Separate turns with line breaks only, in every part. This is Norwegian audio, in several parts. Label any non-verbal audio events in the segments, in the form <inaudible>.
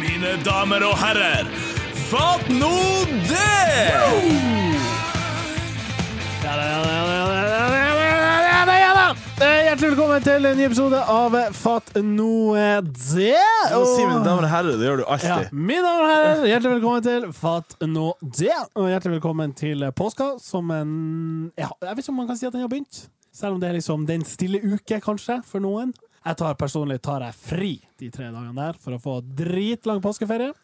mine damer og herrer. Fatt nå det!
Hjertelig velkommen til en ny episode av Fatt noe det.
Si mine damer og herrer, det gjør du
ja,
alltid.
mine damer og herrer, hjertelig velkommen til Fatt nå det. Og hjertelig velkommen til påska, som en ja, Jeg vet ikke om man kan si at den har begynt. Selv om det er liksom den stille uke, kanskje, for noen. Jeg tar personlig tar jeg fri de tre dagene der for å få dritlang påskeferie.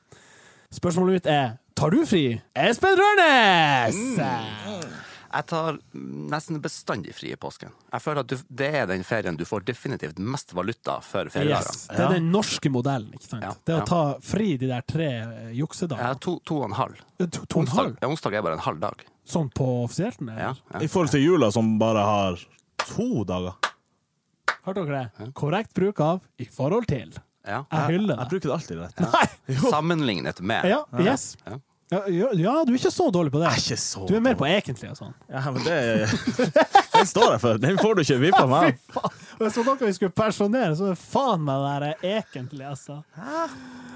Spørsmålet mitt er tar du fri, Espen Rørnes?
Jeg tar nesten bestandig fri i påsken. Jeg føler at du, Det er den ferien du får definitivt mest valuta for feriedagene.
Yes. Det er den norske modellen, ikke sant?
Ja,
Det å
ja.
ta fri de der tre eh,
Jeg har
juksedagene.
to, to og en halv.
To, to og en
Onsdag,
halv?
ja, onsdag er bare en halv dag.
Sånn på offisielt? eller?
Ja, ja.
I forhold til jula, som bare har to dager.
Hørte dere det? Korrekt bruk av i forhold til.
ja.
Jeg hyller
Jeg
det.
bruker det alltid rett.
Nei!
Sammenlignet med.
Ja, yes.
Ja.
Ja, ja, ja, du er ikke så dårlig på det.
Ikke så
Du er mer på egentlig og sånn.
Ja, men det Den står jeg for. Den får du ikke vippe meg av.
Og jeg så dere vi skulle personere, så er det faen meg det der er egentlig, altså.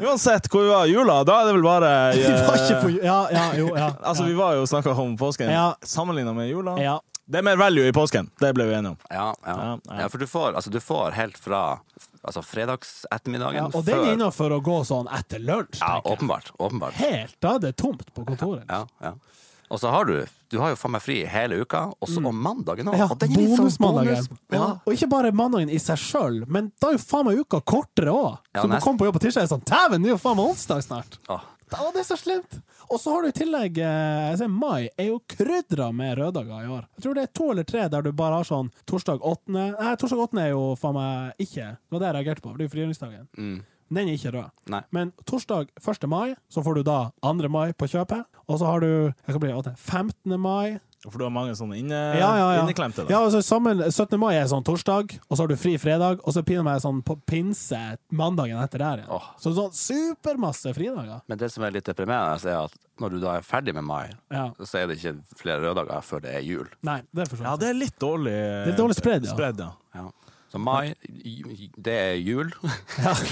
Uansett hvor vi var i jula, da er det vel bare eh,
Vi var ikke på Ja, ja, jo, ja.
Altså, vi var jo og snakka om påsken
Ja.
sammenligna med jula.
ja.
Det er mer value i påsken. Det ble vi enige om.
Ja, ja.
Ja, ja.
ja for du får, altså, du får helt fra altså,
ja.
fredagsettermiddagen
Og den er
før
innafor å gå sånn etter lunsj.
Ja,
tenker jeg.
åpenbart. åpenbart.
Helt da det er tomt på kontoret.
Ja, ja. Og så har du Du har jo faen meg fri hele uka, og så om mandagen òg.
Mm. Ja,
og den er litt sånn
bonusmandagen.
bonus- Ja.
Og ikke bare mandagen i seg sjøl, men da er jo faen meg uka kortere òg.
Ja,
så du
nesten.
kommer på jobb på tirsdag og er sånn Dæven, det er jo faen meg onsdag snart!
Åh,
Da, det er så slemt! Og så har du i tillegg eh, jeg ser Mai er jo krydra med røddager i år. Jeg tror det er to eller tre der du bare har sånn torsdag 8. Nei, torsdag 8. er jo faen meg ikke Det var det jeg reagerte på, for det er jo frigjøringsdagen.
Mm.
Den er ikke rød.
Nei.
Men torsdag 1. mai, så får du da 2. mai på kjøpet. Og så har du jeg kan bli, åtte, 15. mai,
For du har mange sånne inne,
ja, ja, ja.
Eh, inneklemte. Da.
Ja, altså, sammen, 17. mai er sånn torsdag, og så har du fri fredag, og så piner meg sånn på pinse mandagen etter der igjen.
Åh.
Så sånn supermasse fridager.
Men det som er litt deprimerende, er at når du da er ferdig med mai,
Ja.
så er det ikke flere røddager før det er jul.
Nei, det er for så
Ja,
vidt.
det er litt dårlig
Det er dårlig spredd, ja.
ja.
Ja. Så mai, j- det er jul. <laughs>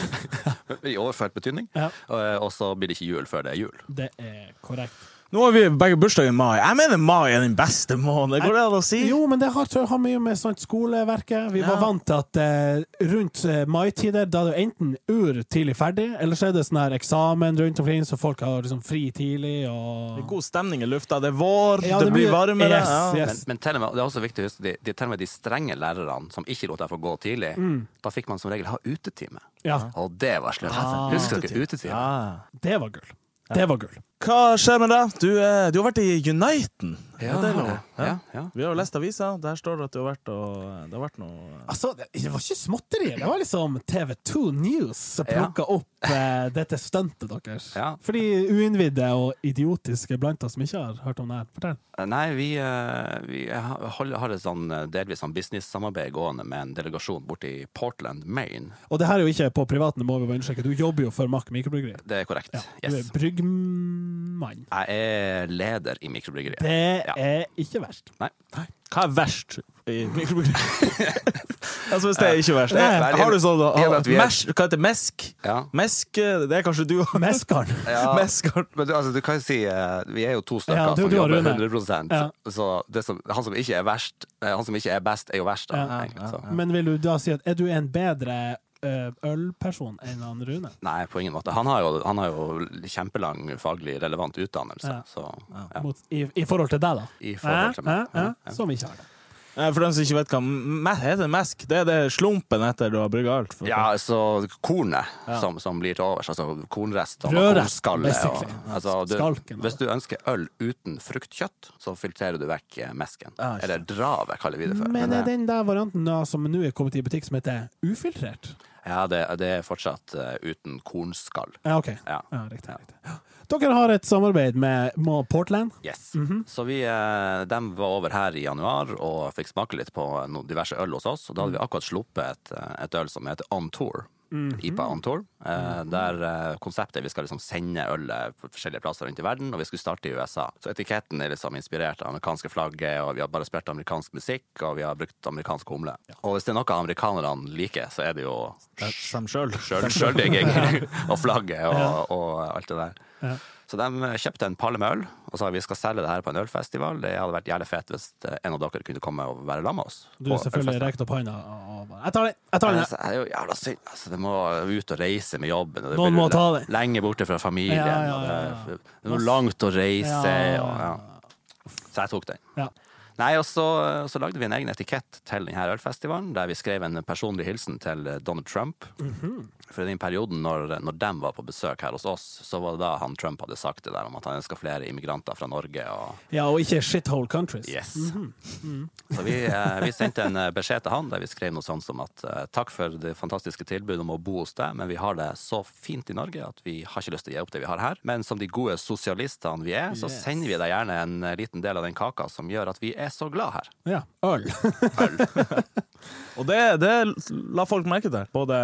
I overført betydning. Eh,
Ja.
Og og så blir det ikke jul før det er jul.
Det er korrekt.
Nå har vi begge bursdag i mai. Jeg mener mai er den beste måneden. Går det an å si?
Jo, men det har, tror jeg har mye med sånt skoleverket. Vi var
Ja.
vant til at eh, rundt eh, maitider, da er det enten ur tidlig ferdig, eller så er det sånn her eksamen rundt omkring, så folk har liksom fri tidlig og
Det er god stemning i lufta. Det er vår,
Ja,
det,
det
blir
blir-
varmere.
Yes,
ja.
yes.
Men, men til og med, det er også viktig å huske de, de, til og med de strenge lærerne som ikke lot deg få gå tidlig. Da fikk man som regel ha utetime.
Ja,
Og det var slemt. Husker dere utetime?
Ja.
det var gull. Det var gull.
Ah. Hva skjer med deg? Du, eh, du har vært i Uniten.
Ja,
det er noe.
ja, ja.
Vi har jo lest avisa. Der står det at du har vært og eh, Det har vært noe
Altså, det det var ikke småtterier. Det var liksom TV2 News som plukka opp eh, dette stuntet deres.
Ja.
For de uinnvidde og idiotiske blant oss som ikke har hørt om det her. Fortell.
Nei, vi, eh, vi har, har et sånn eh, delvis sånn business-samarbeid gående med en delegasjon borte i Portland, Maine.
Og det her er jo ikke på privaten, må vi bare understreke. Du jobber jo for Mack mikrobryggeri.
Det er korrekt.
Du
Yes.
er bryggmann.
Jeg er leder i mikrobryggeriet.
Det
Ja.
er ikke verst.
Nei.
Hva er verst eh, i
<laughs>
mikrobryggeri? altså, hvis det er ikke verst.
Nei.
Eh, har du sånn
I og med at vi er-
mesh, Hva heter det? mesk?
Ja.
Mesk, eh, det er kanskje du har.
<laughs>
Meskaren. <laughs>
Ja.
<laughs> Meskeren.
Men du, altså, du kan jo si eh, Vi er jo to stykker
Ja, du-
som
du har
jobber
Rune.
100
Ja.
Så det som, han som ikke er verst eh, Han som ikke er best, er jo verst, da.
Ja.
egentlig, så.
Men vil du da si at er du en bedre eh, ølperson enn han Rune?
Nei, på ingen måte. Han har jo, han har jo kjempelang faglig relevant utdannelse.
Ja.
Så, ja.
Mot, i, I forhold til deg, da?
I forhold til meg.
Hæ? Hæ?
Ja, ja.
Hæ? Som ikke har det.
Eh, For dem som ikke vet hva me heter mesk, det er det slumpen etter du har brygga alt. for-
ja, så kornet som, som blir til overs, altså kornrest og
Rørest,
kornskallet. og-
basically.
Altså,
Skalken, da.
du, hvis du ønsker øl uten fruktkjøtt, så filtrerer du vekk eh, mesken.
Ah, shit.
Eller dravet, kaller vi det for.
Men eh,
det-
er den der varianten da som nå er kommet i butikk, som heter ufiltrert?
Ja, det, det er fortsatt eh, uten kornskall.
Ja, OK.
Ja.
Ja, riktig, riktig. Dere har et samarbeid med med Portland.
Yes. Så vi, eh, dem var over her i januar og fikk smake litt på noen diverse øl hos oss. Og da hadde vi akkurat sluppet et, eh, et øl som heter On Tour. IPA on tour. eh, Der eh, konseptet er vi skal liksom sende ølet på forskjellige plasser rundt i verden, og vi skulle starte i USA. Så etiketten er liksom inspirert av amerikanske flagget, og vi har bare spilt amerikansk musikk, og vi har brukt amerikansk humle. Og hvis det er noe amerikanerne liker, så er det jo
Dem sjøl.
sjøl- sjøldigging <laughs> og flagget og, og alt det der.
Ja.
Så de kjøpte en palle med øl og sa vi skal selge det her på en ølfestival. Det hadde vært jævlig fett hvis eh, en av dere kunne komme og være sammen med oss.
Du
på
selvfølgelig
ølfestivalen.
rekte opp hånda og bare Jeg tar den! Jeg tar
Men
den.
så er det jo jævla synd. Altså, det må ut og reise med jobben. og det
Noen
blir
må ta det.
Lenge borte fra familien.
Ja, ja, ja,
og Det, er- det er noe langt å reise.
Ja.
Og, ja. Så jeg tok den.
Ja.
Nei, og så, så lagde vi en egen etikett til denne ølfestivalen, der vi skrev en personlig hilsen til eh, Donald Trump. For i den perioden når, når de var på besøk her hos oss, så var det da han Trump hadde sagt det der om at han ønska flere immigranter fra Norge. og...
ja, og ikke shithole countries.
Yes. Så vi, eh, vi sendte en eh, beskjed til han der vi skrev noe sånt som at eh, takk for det fantastiske tilbudet om å bo hos deg, men vi har det så fint i Norge at vi har ikke lyst til å gi opp det vi har her. Men som de gode sosialistene vi er, så
Yes.
sender vi deg gjerne en eh, liten del av den kaka som gjør at vi er så glad her.
Ja. Øl.
Og det, det la folk merke til. Både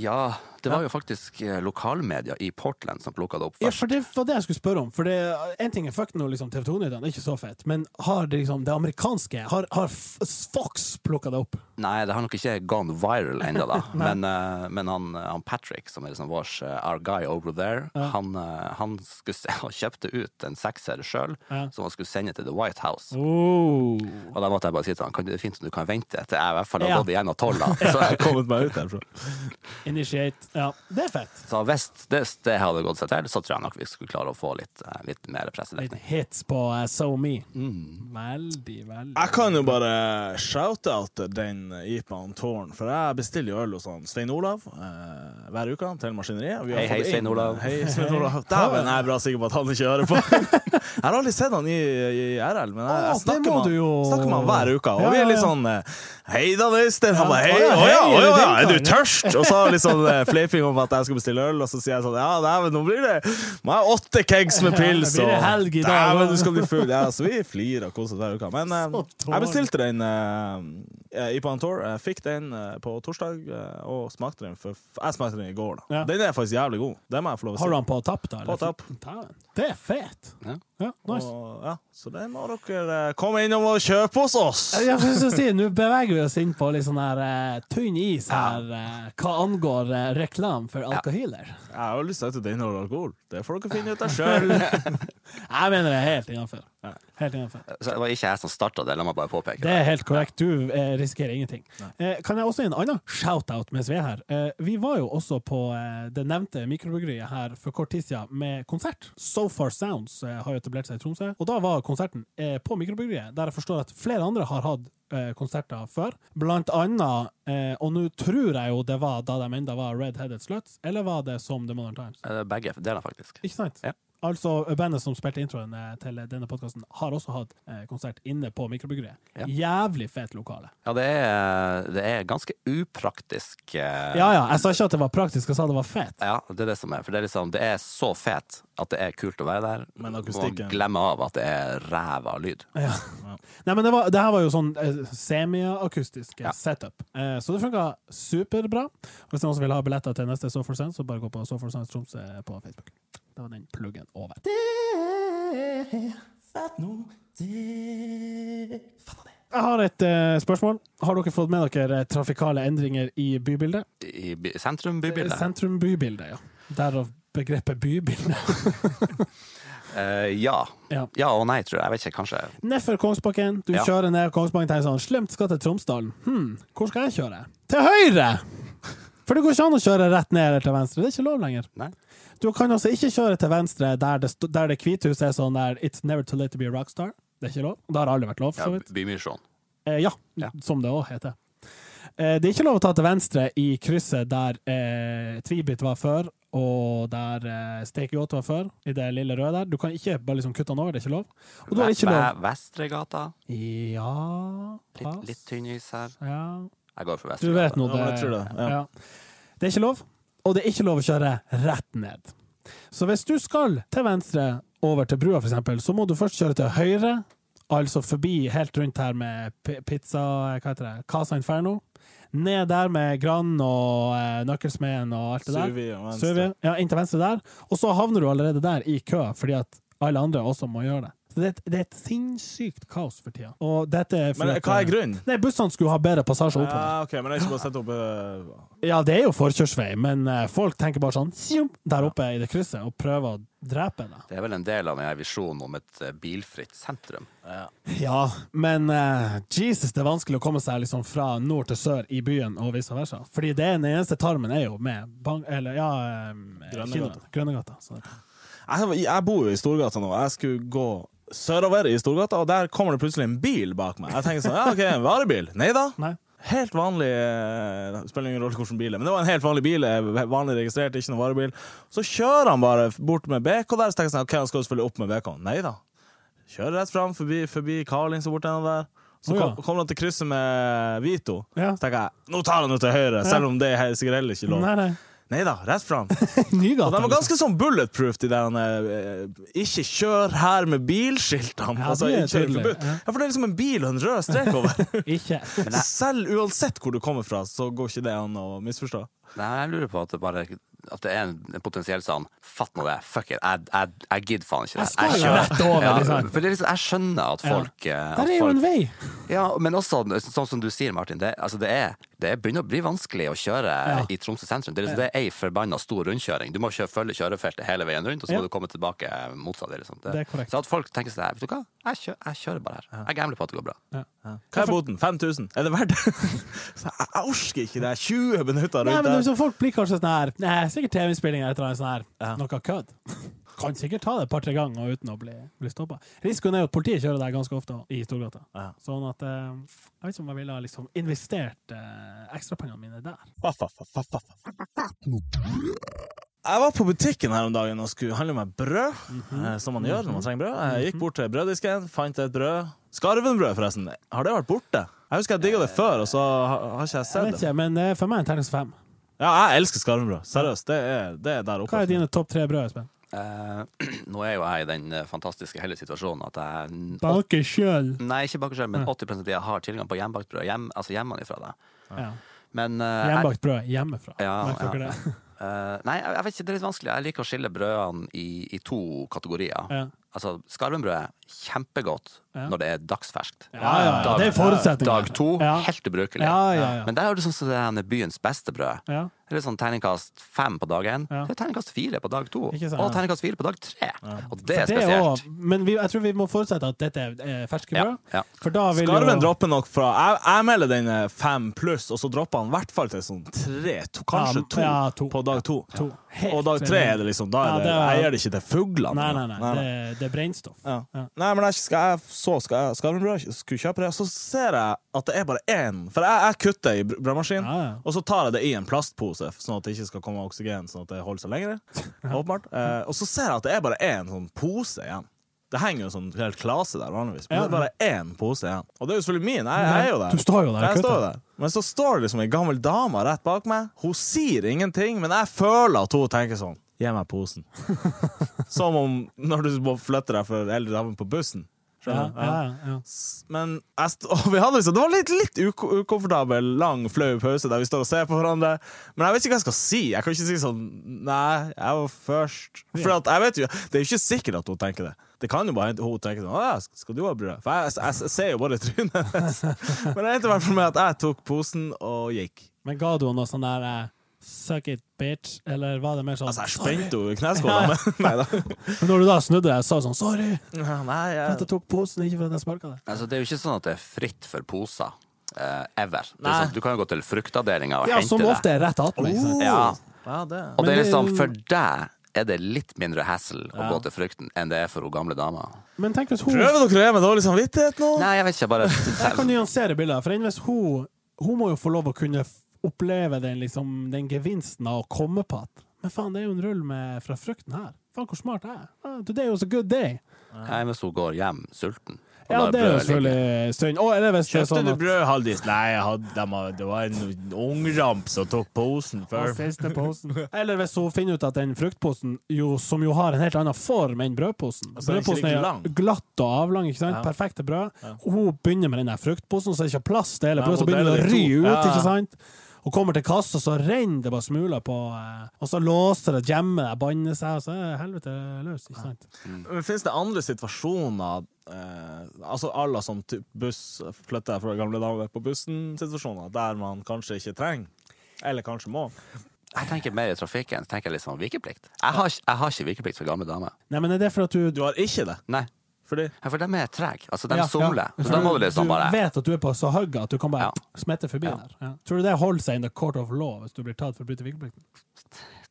Ja, det var jo faktisk eh, lokalmedia i Portland som plukka det opp
<laughs> Ja,
først.
for det var det jeg skulle spørre om. For det, en ting er fuck nå, liksom, TV 2-nyhetene er ikke så fett, men har det, liksom, det amerikanske Har, har F- Fox plukka det opp?
Nei, det har nok ikke gone viral ennå, da.
<laughs>
men eh, men han, han Patrick, som er liksom vår eh, our guy over there, han, eh, han, skulle, se- han kjøpte ut en sekser sjøl,
Ja.
som han skulle sende til The White House.
Oh.
Og da måtte jeg bare si til han kan, det er fint om du kan vente til jeg i hvert fall har
Ja.
gått igjennom
<laughs>
tolla. Så,
jeg har kommet meg ut derfra.
Initiate. Ja, det er fett.
så hvis det, det hadde gått seg til, så tror jeg nok vi skulle klare å få litt, eh, litt mer
Litt
pressedekning.
hits på uh, So Me. Mm. Veldig, veldig
Jeg kan jo bare shout-out den IPA-en Tårn, for jeg bestiller jo øl hos han Stein Olav eh, hver uke til Maskineriet. og vi har
Hei, hei,
fått inn-
Stein Olav.
Hei, Stein
<laughs>
Olav. Dæven, jeg er bra sikker på at han ikke hører på. <laughs> Jeg har aldri sett han i, i RL, men jeg,
Å,
jeg
det
snakker,
må
med,
du jo.
han- snakker med han hver uke.
Ja,
Og vi er litt
ja, ja.
sånn eh, Hei da, Øystein. Han
Ja.
bare
Å,
Hei,
ja,
å ja,
hei,
å
er det
ja,
den
er
karen?
du tørst? Og så litt sånn eh, fleiping om at jeg skal bestille øl, og så sier jeg sånn Ja, dæven, nå blir det må jeg ha åtte kegs med
<laughs> Ja, det
pils.
blir
og-
helg i dag,
Dæven,
da.
du skal bli full. Ja, så vi flirer og koser hver uke. Men eh,
Så
jeg bestilte den eh, i Pantor. Jeg fikk den eh, på torsdag, eh, og smakte den for Jeg smakte den i går, da.
Ja.
Den er faktisk jævlig god. Det må jeg få lov å si.
Har du han på tapp, da? eller?
På tapp.
Dæven. Det er fett.
Ja.
Ja, nice.
Og, ja, så den må dere eh, komme innom og kjøpe hos oss!
Ja, for som jeg sier, Nå beveger vi oss inn på litt sånn her eh, tynn is her eh, hva angår uh, reklame for alkohyler.
Jeg har jo lyst til at den inneholder alkohol. Det får dere finne ut av
<laughs>
sjøl.
Jeg mener det er helt innafor. Helt innenfor.
Så det var ikke jeg som starta det, la meg bare påpeke
Det er helt korrekt. Du eh, risikerer ingenting. Eh, kan jeg også gi en annen shout-out mens vi er her? Eh, vi var jo også på eh, det nevnte mikrobryggeriet her for kort tid siden med konsert. So Far Sounds eh, har jo etablert seg i Tromsø, og da var konserten eh, på mikrobryggeriet, der jeg forstår at flere andre har hatt eh, konserter før. Blant annet, eh, og nå tror jeg jo det var da de enda var Red Headed Sluts, eller var det som The Modern Times?
Eh, Begge deler, faktisk.
Ikke sant?
Ja.
Altså, bandet som spilte introen eh, til denne podkasten, har også hatt eh, konsert inne på mikrobryggeriet.
Ja.
Jævlig fett lokale.
Ja, det er, det er ganske upraktisk. eh,
Ja, ja, jeg sa ikke at det var praktisk, jeg sa det var fett.
Ja, det er det som er. For det er, liksom, det er så fet at det er kult å være der.
Men
og
akustikken-
glemme av at det er ræva lyd.
Ja. Nei, men det, var, det her var jo sånn eh, semiakustisk eh,
Ja.
setup. Eh, så det funka superbra. Hvis noen som vil ha billetter til neste So for Sense, så bare gå på So for Sense Tromsø på Facebook. Det var den pluggen over. Jeg har et eh, spørsmål. Har dere fått med dere eh, trafikale endringer i bybildet?
I by, sentrum,
Eh,
bybildet.
Sentrum bybildet, ja. Derav begrepet
<laughs>
bybilde.
Eh, ja.
ja.
ja og nei, tror jeg. Jeg vet ikke, kanskje.
Nedfor Kongsbakken. Du
Ja.
kjører ned Kongsbakken tenker sånn Slemt skal til Tromsdalen. Hm, hvor skal jeg kjøre? Til høyre! For det går ikke an å kjøre rett ned eller til venstre. Det er ikke lov lenger.
Nei.
Du kan altså ikke kjøre til venstre der det, sto- der det hvithuset er sånn der It's never too late to be a rockstar. Det er ikke lov. Det har aldri vært lov,
Ja,
for så vidt.
Bymisjon.
Eh, ja,
Ja.
som det òg heter. Eh, det er ikke lov å ta til venstre i krysset der eh, Tvibit var før, og der eh, Stekeyacht var før, i det lille røde der. Du kan ikke bare liksom kutte den over, det er ikke lov. Og du har ikke lov
Ve- Vestregata.
ja
Litt, litt tynn is her.
Ja.
Jeg går
Du
for Vestregata.
vet nå
Ja,
det,
jeg tror det, ja.
Ja. det er ikke lov, og det er ikke lov å kjøre rett ned. Så hvis du skal til venstre over til brua, for eksempel, så må du først kjøre til høyre, altså forbi helt rundt her med p- pizza Hva heter det? Casa Inferno. Ned der med Gran og eh, Nøkkelsmeden og alt det der.
Suvi og venstre.
Sørvi, ja, inn til venstre der. Og så havner du allerede der i kø, fordi at alle andre også må gjøre det. Så det er et, det er et sinnssykt kaos for tida. Og dette er
Men eh,
for
hva er grunnen?
Nei, bussene skulle ha bedre passasje
Ja,
oppover.
ok, men jeg skal bare sette opp eh,
Ja, det er jo forkjørsvei, men eh, folk tenker bare sånn «Sjum!» der oppe i det krysset og prøver å drepe deg.
Det er vel en del av denne visjonen om et eh, bilfritt sentrum.
Ja, men eh, Jesus, det er vanskelig å komme seg liksom fra nord til sør i byen og vice versa. Fordi det er den eneste tarmen er jo med bang... Eller, ja eh,
Grønnegata.
Kinnegata. Grønnegata. så det-
jeg, jeg bor jo i Storgata nå. Jeg skulle gå sørover i Storgata, og der kommer det plutselig en bil bak meg. Jeg tenker sånn, ja ok, en varebil. Nei da.
Nei.
Helt vanlig eh, Det spiller ingen rolle hvilken bil det er, men det var en helt vanlig bil. eh, Vanlig registrert, ikke noen varebil. Så kjører han bare bort med BK der, så tenker jeg sånn, ok, han skal jo selvfølgelig opp med BK. Nei da. Kjører rett fram, forbi, forbi Carlings og bort gjennom der. Så
Å,
kom,
ja.
kommer han til krysset med Vito.
Ja.
Så tenker jeg, nå tar han jo til høyre, selv om det er sikkert heller ikke lov.
Nei, nei.
Nei da, rett fram. <laughs> Og
Nygata.
de var
liksom.
ganske sånn bulletproof, de der eh, Ikke kjør her med bilskiltene!
Ja,
altså,
de er
kjør
tydelige,
forbudt.
ja.
Ja, for det er liksom en bil og en rød strek
<laughs>
over.
Ikke.
Selv uansett hvor du kommer fra, så går ikke det an å misforstå.
Nei, jeg lurer på at det bare at det er en, en potensiell sånn Fatt nå det, fuck it, jeg, jeg, jeg gidder faen ikke det.
Jeg skal jo rett over, liksom.
for det er liksom, jeg skjønner at folk eh, at
Der er jo
folk-
en vei!
Ja, men også, sånn som du sier, Martin, det, altså det, er, det er begynner å bli vanskelig å kjøre
Ja.
i Tromsø sentrum. Det er, liksom, det er ei forbanna stor rundkjøring. Du må kjøre, følge kjørefeltet hele veien rundt, og så
Ja.
må du komme tilbake motsatt. Liksom. Det,
Det er korrekt.
Så at folk tenker seg vet du hva, jeg kjører, jeg kjører bare her. Jeg gambler på at det går bra.
Hva er boten? 5000? Er det verdt det? <laughs> Så jeg, jeg orker ikke det. 20 minutter
Nei,
rundt
men
der.
liksom, Folk blir kanskje sånn her Nei, sikkert TV-spilling eller et eller annet sånn her.
Ja.
Noe kødd. Kan sikkert ta det et par-tre ganger uten å bli, bli stoppa. Risikoen er jo at politiet kjører der ganske ofte i Storgata.
Ja.
Sånn at eh, Jeg vet ikke om jeg ville ha liksom investert eh, ekstrapengene mine der.
Jeg var på butikken her om dagen og skulle handle meg brød,
Mhm.
eh, som man gjør når man trenger brød. Jeg gikk bort til brøddisken, fant et brød. Skarvenbrød, forresten. Har det vært borte? Jeg husker jeg digga det før, og så har, har ikke jeg
Jeg
sett
vet
det.
ikke, men det er for meg en terning fem.
Ja, jeg elsker skarvenbrød. Seriøst. Det er, det er der oppe.
Hva er dine topp tre brød, Espen?
Eh, <clears throat> nå er jo jeg i den eh, fantastiske heldige situasjonen at jeg
Bake sjøl.
Nei, ikke baker selv, men 80 av de jeg har tilgang på hjemmebakt brød hjem, altså hjemmefra. da.
Ja.
Men eh, jeg-
Hjemmebakt brød hjemmefra.
Ja,
Merker dere
ja.
det?
Eh, nei, jeg, jeg vet ikke, det er litt vanskelig. Jeg liker å skille brødene i, i to kategorier.
Ja.
Altså, Skarvenbrød kjempegodt
Ja.
når det er dagsferskt.
Ja, ja, ja. Det er forutsetningen.
Dag to,
Ja.
helt ubrukelig.
Ja, ja, ja.
Men der er det sånn som det her byens beste brød.
Ja.
Det er sånn terningkast fem på dag én,
Ja.
det er terningkast fire på dag to,
Ikke sant?
og terningkast fire på dag tre. Og det er
Det er
spesielt.
også- men vi, jeg tror vi må forutsette at dette er eh, ferske
Ja,
brød.
ja.
For da vil
Skarven
jo
dropper nok fra Jeg, jeg melder den eh, fem pluss, og så dropper han i hvert fall til sånn tre, to, kanskje
Ja,
to,
ja, to.
på dag to.
To. Helt
Og dag tre er det liksom Da
Ja,
er det,
det er-
jeg gir det ikke til fuglene.
Nei, nei, nei. Det, det er brennstoff.
Ja.
Ja.
Nei, men jeg skal, jeg så skal jeg skarvenbrød, skulle kjøpe det, og så ser jeg at det er bare én. For jeg, jeg kutter i br- brødmaskinen,
Ja, ja.
og så tar jeg det i en plastpose, sånn at det ikke skal komme oksygen, sånn at det holder seg
<laughs>
lenger. Åpenbart. Eh, og så ser jeg at det er bare én sånn pose igjen. Det henger jo en sånn hel klase der vanligvis, men
Ja.
det er bare én pose igjen. Og det er jo selvfølgelig min. Jeg, jeg er jo der.
Du står jo der,
Jeg
kutter.
står jo der. Men så står det liksom ei gammel dame rett bak meg. Hun sier ingenting, men jeg føler at hun tenker sånn Gi meg posen. Som om når du må flytte deg for eldre damer på bussen.
Ja,
Skjønner du?
ja, ja.
S- Men jeg st <laughs> og vi hadde liksom, det var litt, litt uko- ukomfortabel, lang, flau pause der vi står og ser på hverandre. Men jeg vet ikke hva jeg skal si. Jeg kan ikke si sånn Nei, jeg var først. For at jeg vet jo, Det er jo ikke sikkert at hun tenker det. Det kan jo bare hende hun tenker sånn Å ja, skal du ha brød? For jeg, jeg, jeg ser jo bare trynet
<laughs>
hennes. Men det endte i hvert fall med at jeg tok posen og gikk.
Men ga du henne noe sånn der eh, Suck it, bitch? Eller var det mer sånn
Altså, jeg spente henne i kneskåla, men <laughs> nei da.
Men Når du da snudde deg, sa du sånn Sorry
Nei,
for at jeg
jeg,
tok posen, ikke for at jeg sparka det.
Altså, det er jo ikke sånn at det er fritt for poser. eh, ever. Det er
Nei.
sånn, du kan jo gå til fruktavdelinga og
Ja,
hente
som
det.
ofte er rett attmed.
Oh.
ikke sant?
Ja.
ja, det.
Og
Men
det er
det-
liksom, for deg er det litt mindre hassle å
Ja.
gå til frukten enn det er for hun gamle dama.
Men tenk hvis hun
Prøver dere det med dårlig samvittighet nå?
Nei, jeg vet ikke,
<laughs>
bare
Jeg kan nyansere bildet. For enn hvis hun Hun må jo få lov å kunne f- oppleve den, liksom, den gevinsten av å komme på at Men faen, det er jo en rull med, fra frukten her. Faen, hvor smart jeg er. Ah, Today was a good day.
Nei, hvis hun går hjem sulten. og
Ja,
lar
det er jo
brødet ligge.
selvfølgelig synd. Å, eller hvis det er
Kjøpte
sånn
du
at
brød, Haldis? Nei, jeg hadde, de hadde- det var en ungramp som tok posen før. <laughs>
Eller hvis hun finner ut at den fruktposen, jo, som jo har en helt annen form enn brødposen
Altså, den er ikke
Brødposen er
like
jo
lang.
glatt og avlang, ikke sant?
Ja.
Perfekte brød. Hun begynner med den der fruktposen, så er det ikke plass til hele
Nei,
brødet, så
hun
begynner det å
deler
ry
i to.
ut,
Ja.
ikke sant? Hun kommer til kassa, så renner det bare smuler på, eh, og så låser det, gjemmer det, banner seg, og så er helvete løs, ikke sant?
Men Finnes det andre situasjoner eh, Altså alle som typ buss flytter fra gamle damer på bussen-situasjoner, der man kanskje ikke trenger? Eller kanskje må.
Jeg tenker mer i trafikken. så tenker Jeg litt sånn vikeplikt. Jeg har, ikke- jeg har ikke vikeplikt for gamle damer.
Nei, men er det for at du...
Du har ikke det?
Nei,
Fordi
Ja, for de er trege. Altså, de
Ja, ja.
somler. Så
For
da må du liksom bare
Du vet at du er på så høyga at du kan bare
Ja.
smette forbi
Ja.
der. Ja. Tror du det holder seg in the court of law hvis du blir tatt for å bryte vikeplikten?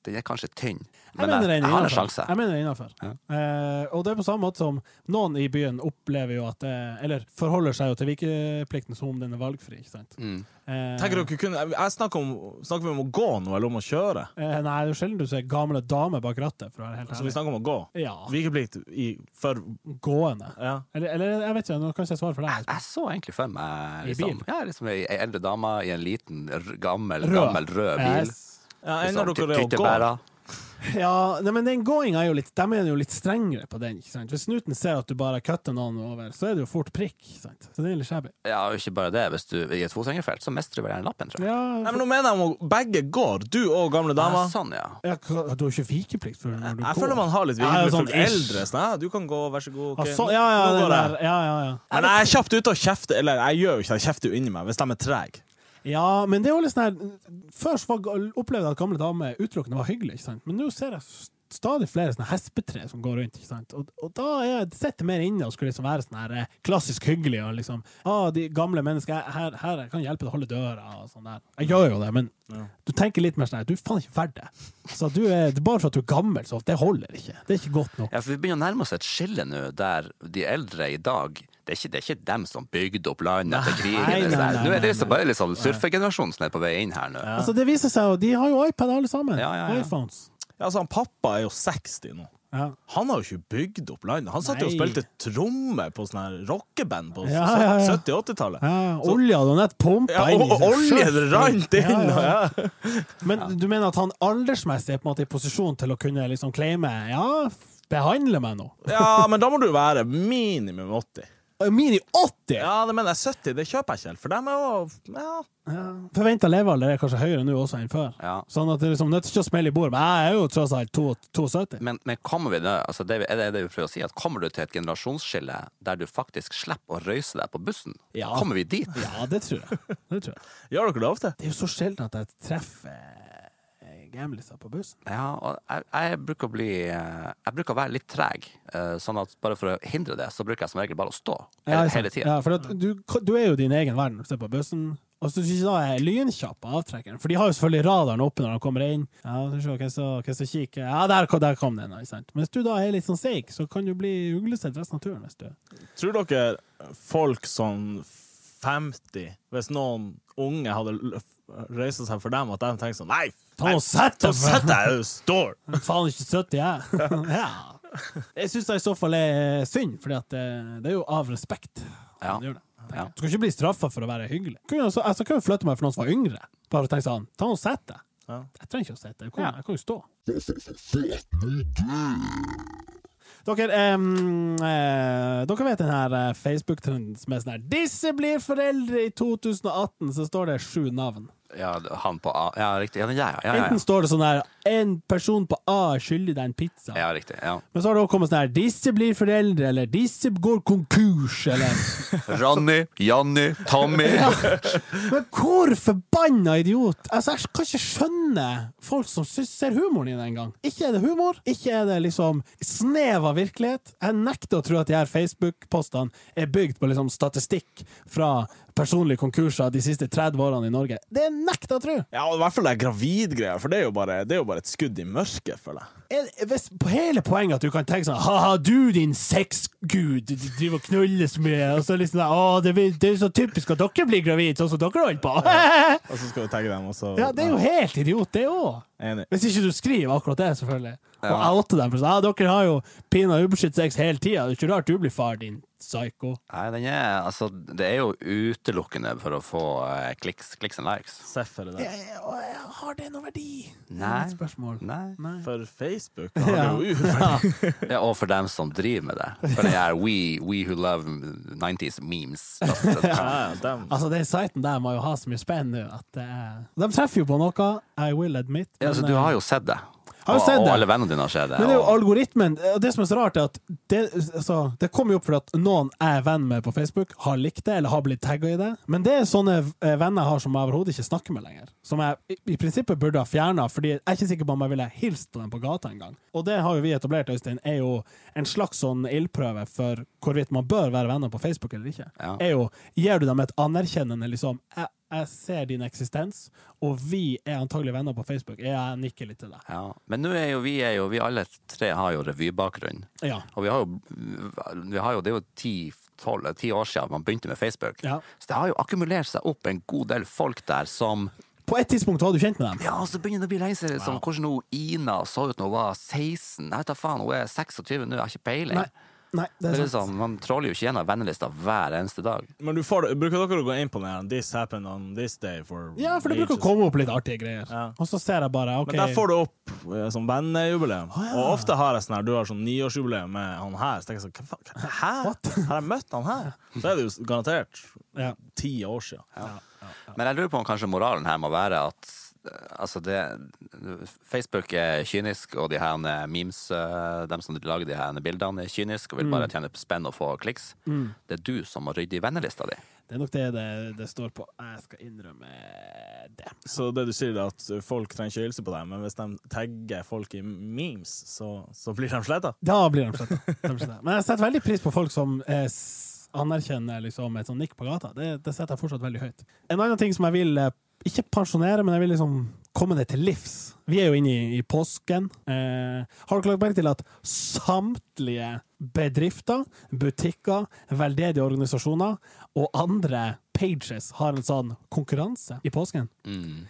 Den er kanskje tynn,
Jeg
men
mener
jeg,
det er
jeg har en
innenfor.
sjanse.
Jeg mener det er innenfor.
Ja.
Eh, og det er på samme måte som noen i byen opplever jo at det, Eller forholder seg jo til vikeplikten som om den er valgfri, ikke sant?
Mm.
Eh,
Tenker dere kunne Jeg snakker, om, snakker vi om å gå nå, eller om å kjøre?
eh, nei, det er jo sjelden du ser gamle damer bak rattet, for å være helt
Altså, vi
ærlig.
snakker om å gå.
Ja,
Vikeplikt i for
gående.
Ja.
Eller, eller jeg vet ikke, nå kan ikke jeg svare for deg.
Jeg så egentlig for meg
I
liksom,
bil?
ja, liksom ei ei eldre dame i en liten, r- gammel,
Rød.
gammel rød bil.
Yes.
ja Egner
Litt sånn
dere det å gå?
tyttebæra.
Ja, nei, men den gåinga er jo litt De er jo litt strengere på den, ikke sant? Hvis snuten ser at du bare kutter noen over, så er det jo fort prikk, ikke sant? Så det er litt shabby.
Ja, og ikke bare det. Hvis du er i et fotgjengerfelt, så mister du vel gjerne lappen, tror jeg.
Ja,
Nei, men nå mener jeg om å begge går. Du og gamle
Ja,
dama.
sånn, ja.
ja, hva- du har ikke vikeplikt før når du går.
Jeg føler man har litt
Ja, ja,
vikeplikt
sånn
for
ish.
eldre. Sånn, ja, du kan gå, vær så god. ok,
Ah, så,
nå-
ja, ja,
nå
den
går jeg.
der, ja, ja, ja.
Men jeg er kjapt ute og kjefter. Eller jeg gjør jo ikke det, jeg kjefter jo inni meg hvis de er trege.
Ja, men det er jo litt sånn her Før så var- opplevde jeg at gamle damer utelukkende var hyggelige, ikke sant? men nå ser jeg s- stadig flere sånne hespetre som går rundt. ikke sant? Og, og da er jeg- sitter jeg mer inne og skulle liksom være sånn her eh, klassisk hyggelig og liksom ah, de gamle mennesker, jeg- her, her jeg kan hjelpe deg å holde døra og sånn der. Jeg gjør jo det, men
Ja.
du tenker litt mer sånn her Du er faen ikke verdt det. Så du er, det er bare for at du er gammel, så det holder ikke. Det er ikke godt nok.
ja. For vi begynner å nærme oss et skille nå, der de eldre i dag det er, ikke, det er ikke dem som bygde opp landet etter krigen.
Nei,
det er
nei,
sånn-
nei,
Nå er det
nei,
liksom bare litt sånn surfegenerasjonen som er på vei inn her nå.
Altså, det viser seg jo, de har jo iPad alle sammen.
Ja, ja, ja.
iPhones.
Ja, altså, han pappa er jo 60 nå.
Ja.
Han har jo ikke bygd opp landet. Han satt jo og
Nei.
spilte trommer på sånne her rockeband på
Ja, ja, ja.
70- 80-tallet.
Ja, olja hadde nett pumpa
Ja,
inn i
og, og olje
Sjøl.
rant inn!
Ja,
Ja,
ja. Men du mener at han aldersmessig er på en måte i posisjon til å kunne liksom claime Ja, f- behandle meg nå.
men da må du være minimum 80.
Mini 80! Ja.
Ja, det mener jeg 70, det kjøper jeg ikke helt, for dem er jo ja.
Forventa levealder er kanskje høyere nå også enn før.
Ja.
Sånn at det er liksom nødt til ikke å smelle i bordet. Men jeg er jo tross alt to- 72.
Men, men kommer vi da, altså det, er det det vi prøver å si, at kommer du til et generasjonsskille der du faktisk slipper å røyse deg på bussen?
Ja.
Kommer vi dit?
Ja, det tror jeg. Det tror jeg.
Gjør dere det ofte?
Det er jo så sjelden at jeg treffer eh, gamliser på bussen.
Ja, og jeg, jeg bruker å bli eh, Jeg bruker å være litt treg, eh, sånn at bare for å hindre det, så bruker jeg som regel bare å stå
Ja,
hele,
ikke sant.
hele tida.
Ja, for at du, du er jo din egen verden når du sitter på bussen. Og så synes jeg da er lynkjapp på avtrekkeren, for de har jo selvfølgelig radaren oppe når de kommer inn. Ja, så se hvem som- hvem som kikker. Ja, der, kom- der kom den, ikke sant. Men hvis du da er litt sånn seig, så kan du bli uglesett resten av turen. hvis du...
Tror dere folk sånn 50, hvis noen unge hadde l- reist seg for dem, at de tenker sånn Nei,
Ta
nei
og sett
så
deg!
setter
<laughs> for-
jeg jo står!
Faen, ikke 70, jeg. <laughs> ja. Jeg syns det i så fall er synd, for det, det er jo av respekt.
Ja.
man gjør det, tenker
Ja.
jeg. Du skal ikke bli straffa for å være hyggelig. Kunne jeg, så, jeg så kan jo flytte meg for noen som var yngre. Bare tenk sånn, ta og sett deg.
Ja.
Jeg trenger ikke å sette, jeg kan, jeg kan jo stå. Dere, em, eh, dere vet den her eh, Facebook-trenden som er sånn her 'Disse blir foreldre i 2018', så står det sju navn.
Ja, han på A Ja, riktig. Ja, ja, ja, ja,
Enten
ja.
står det sånn her 'En person på A skylder deg en pizza'.
ja riktig. Ja.
Men så har det også kommet sånn her 'Disse blir foreldre', eller 'Disse går konkurs', eller
Ronny, Janny, Tommy.
<laughs> Men hvor forbanna idiot! Altså, jeg kan ikke skjønne folk som syns ser humoren i det engang. Ikke er det humor, ikke er det liksom snev av virkelighet. Jeg nekter å tro at de her Facebook-postene er bygd på liksom statistikk fra personlige konkurser de siste 30 årene i Norge. Det nekter jeg å tro!
Ja, og i hvert fall det er gravidgreier, for det er jo bare, det er jo bare et skudd i mørket, føler jeg.
er, hvis på hele poenget at du kan tenke sånn Haha, du din sexgud, du driver og knuller så mye, og så liksom sånn, Å, det, vil- det er så typisk at dere blir gravid, sånn som dere holder på. <laughs>
Og så skal du tagge dem, og så
ja, det er jo helt idiot, det òg.
Enig.
Hvis ikke du skriver akkurat det, selvfølgelig. Og
Ja.
oute dem for sånn, ja, dere har jo pinadø ubeskyttet sex hele tida, det er ikke rart du blir far, din psyko.
Nei, den er, altså, det er jo utelukkende for å få eh, kliks, kliks and likes.
Seff er det der.
Har det noen verdi?
Nei.
Mitt spørsmål.
Nei.
Nei.
For Facebook har
Ja.
det jo ur.
<laughs>
Ja, og for dem som driver med det. For det er we, we who love 90s
<laughs>
memes.
Ja, ja, dem.
Altså, den siten der må jo ha så mye spenn nå at det er De treffer jo på noe, I will admit.
Ja, altså,
men,
du
eh,
har jo sett det.
Har jo
og,
sett
og
det.
alle vennene dine har sett det.
men det er jo
og-
algoritmen. Og det som er så rart, er at det, altså, det kommer jo opp fordi at noen jeg er venn med på Facebook, har likt det eller har blitt tagga i det. Men det er sånne eh, venner jeg har som jeg overhodet ikke snakker med lenger. Som jeg i, i prinsippet burde ha fjerna, fordi jeg er ikke sikker på om jeg ville hilst på dem på gata engang. Og det har jo vi etablert, Øystein, er jo en slags sånn ildprøve for hvorvidt man bør være venner på Facebook eller ikke.
Ja.
Er jo, gir du dem et anerkjennende liksom jeg, jeg ser din eksistens, og vi er antagelig venner på Facebook. Jeg nikker litt til deg.
ja. Men nå er jo vi, er jo, vi alle tre har jo revybakgrunn.
Ja.
Og vi har jo, vi har jo det er jo ti, tolv, ti år siden man begynte med Facebook.
Ja.
Så det har jo akkumulert seg opp en god del folk der som
På et tidspunkt var du kjent med dem.
Ja, og så begynner det å bli lenge siden. Som hvordan hun Ina så ut når hun var 16. Jeg vet da faen, hun er 26 nå, jeg har ikke peiling.
Nei, nei det
Det
er
er
sant.
liksom, man tråler jo ikke gjennom vennelista hver eneste dag.
Men du får, det- bruker dere å gå inn på den her This happened on this day for
Ja, for det bruker å
ages».
komme opp litt artige greier.
Ja.
Og så ser jeg bare OK.
Men der får du opp eh, som vennejubileum. Og ofte har jeg sånn her, du har sånn niårsjubileum med han her. Så tenker jeg sånn, hva faen? hva- Hæ? Har jeg møtt han her? Så er det jo garantert
Ja.
ti år siden.
Men jeg lurer på om kanskje moralen her må være at eh, altså det, Facebook er kynisk, og de her eh, memes, eh, dem som lager de her bildene, er kynisk og vil
Mm.
bare tjene spenn og få kliks. Det er du som må rydde i vennelista di.
Det er nok det det, det står på. Jeg skal innrømme det.
Så det du sier, er at folk trenger ikke hilse på deg, men hvis de tagger folk i memes, så, så blir de sletta?
Da blir de sletta. De blir sletta. Men jeg setter veldig pris på folk som eh, s- anerkjenner liksom, et sånt nikk på gata. Det, det setter jeg fortsatt veldig høyt. En annen ting som jeg vil eh, ikke pensjonere, men jeg vil liksom komme det til livs. Vi er jo inne i, i påsken. Eh, har dere lagt merke til at samtlige bedrifter, butikker, veldedige organisasjoner og andre pages har en sånn konkurranse i påsken?
Mm.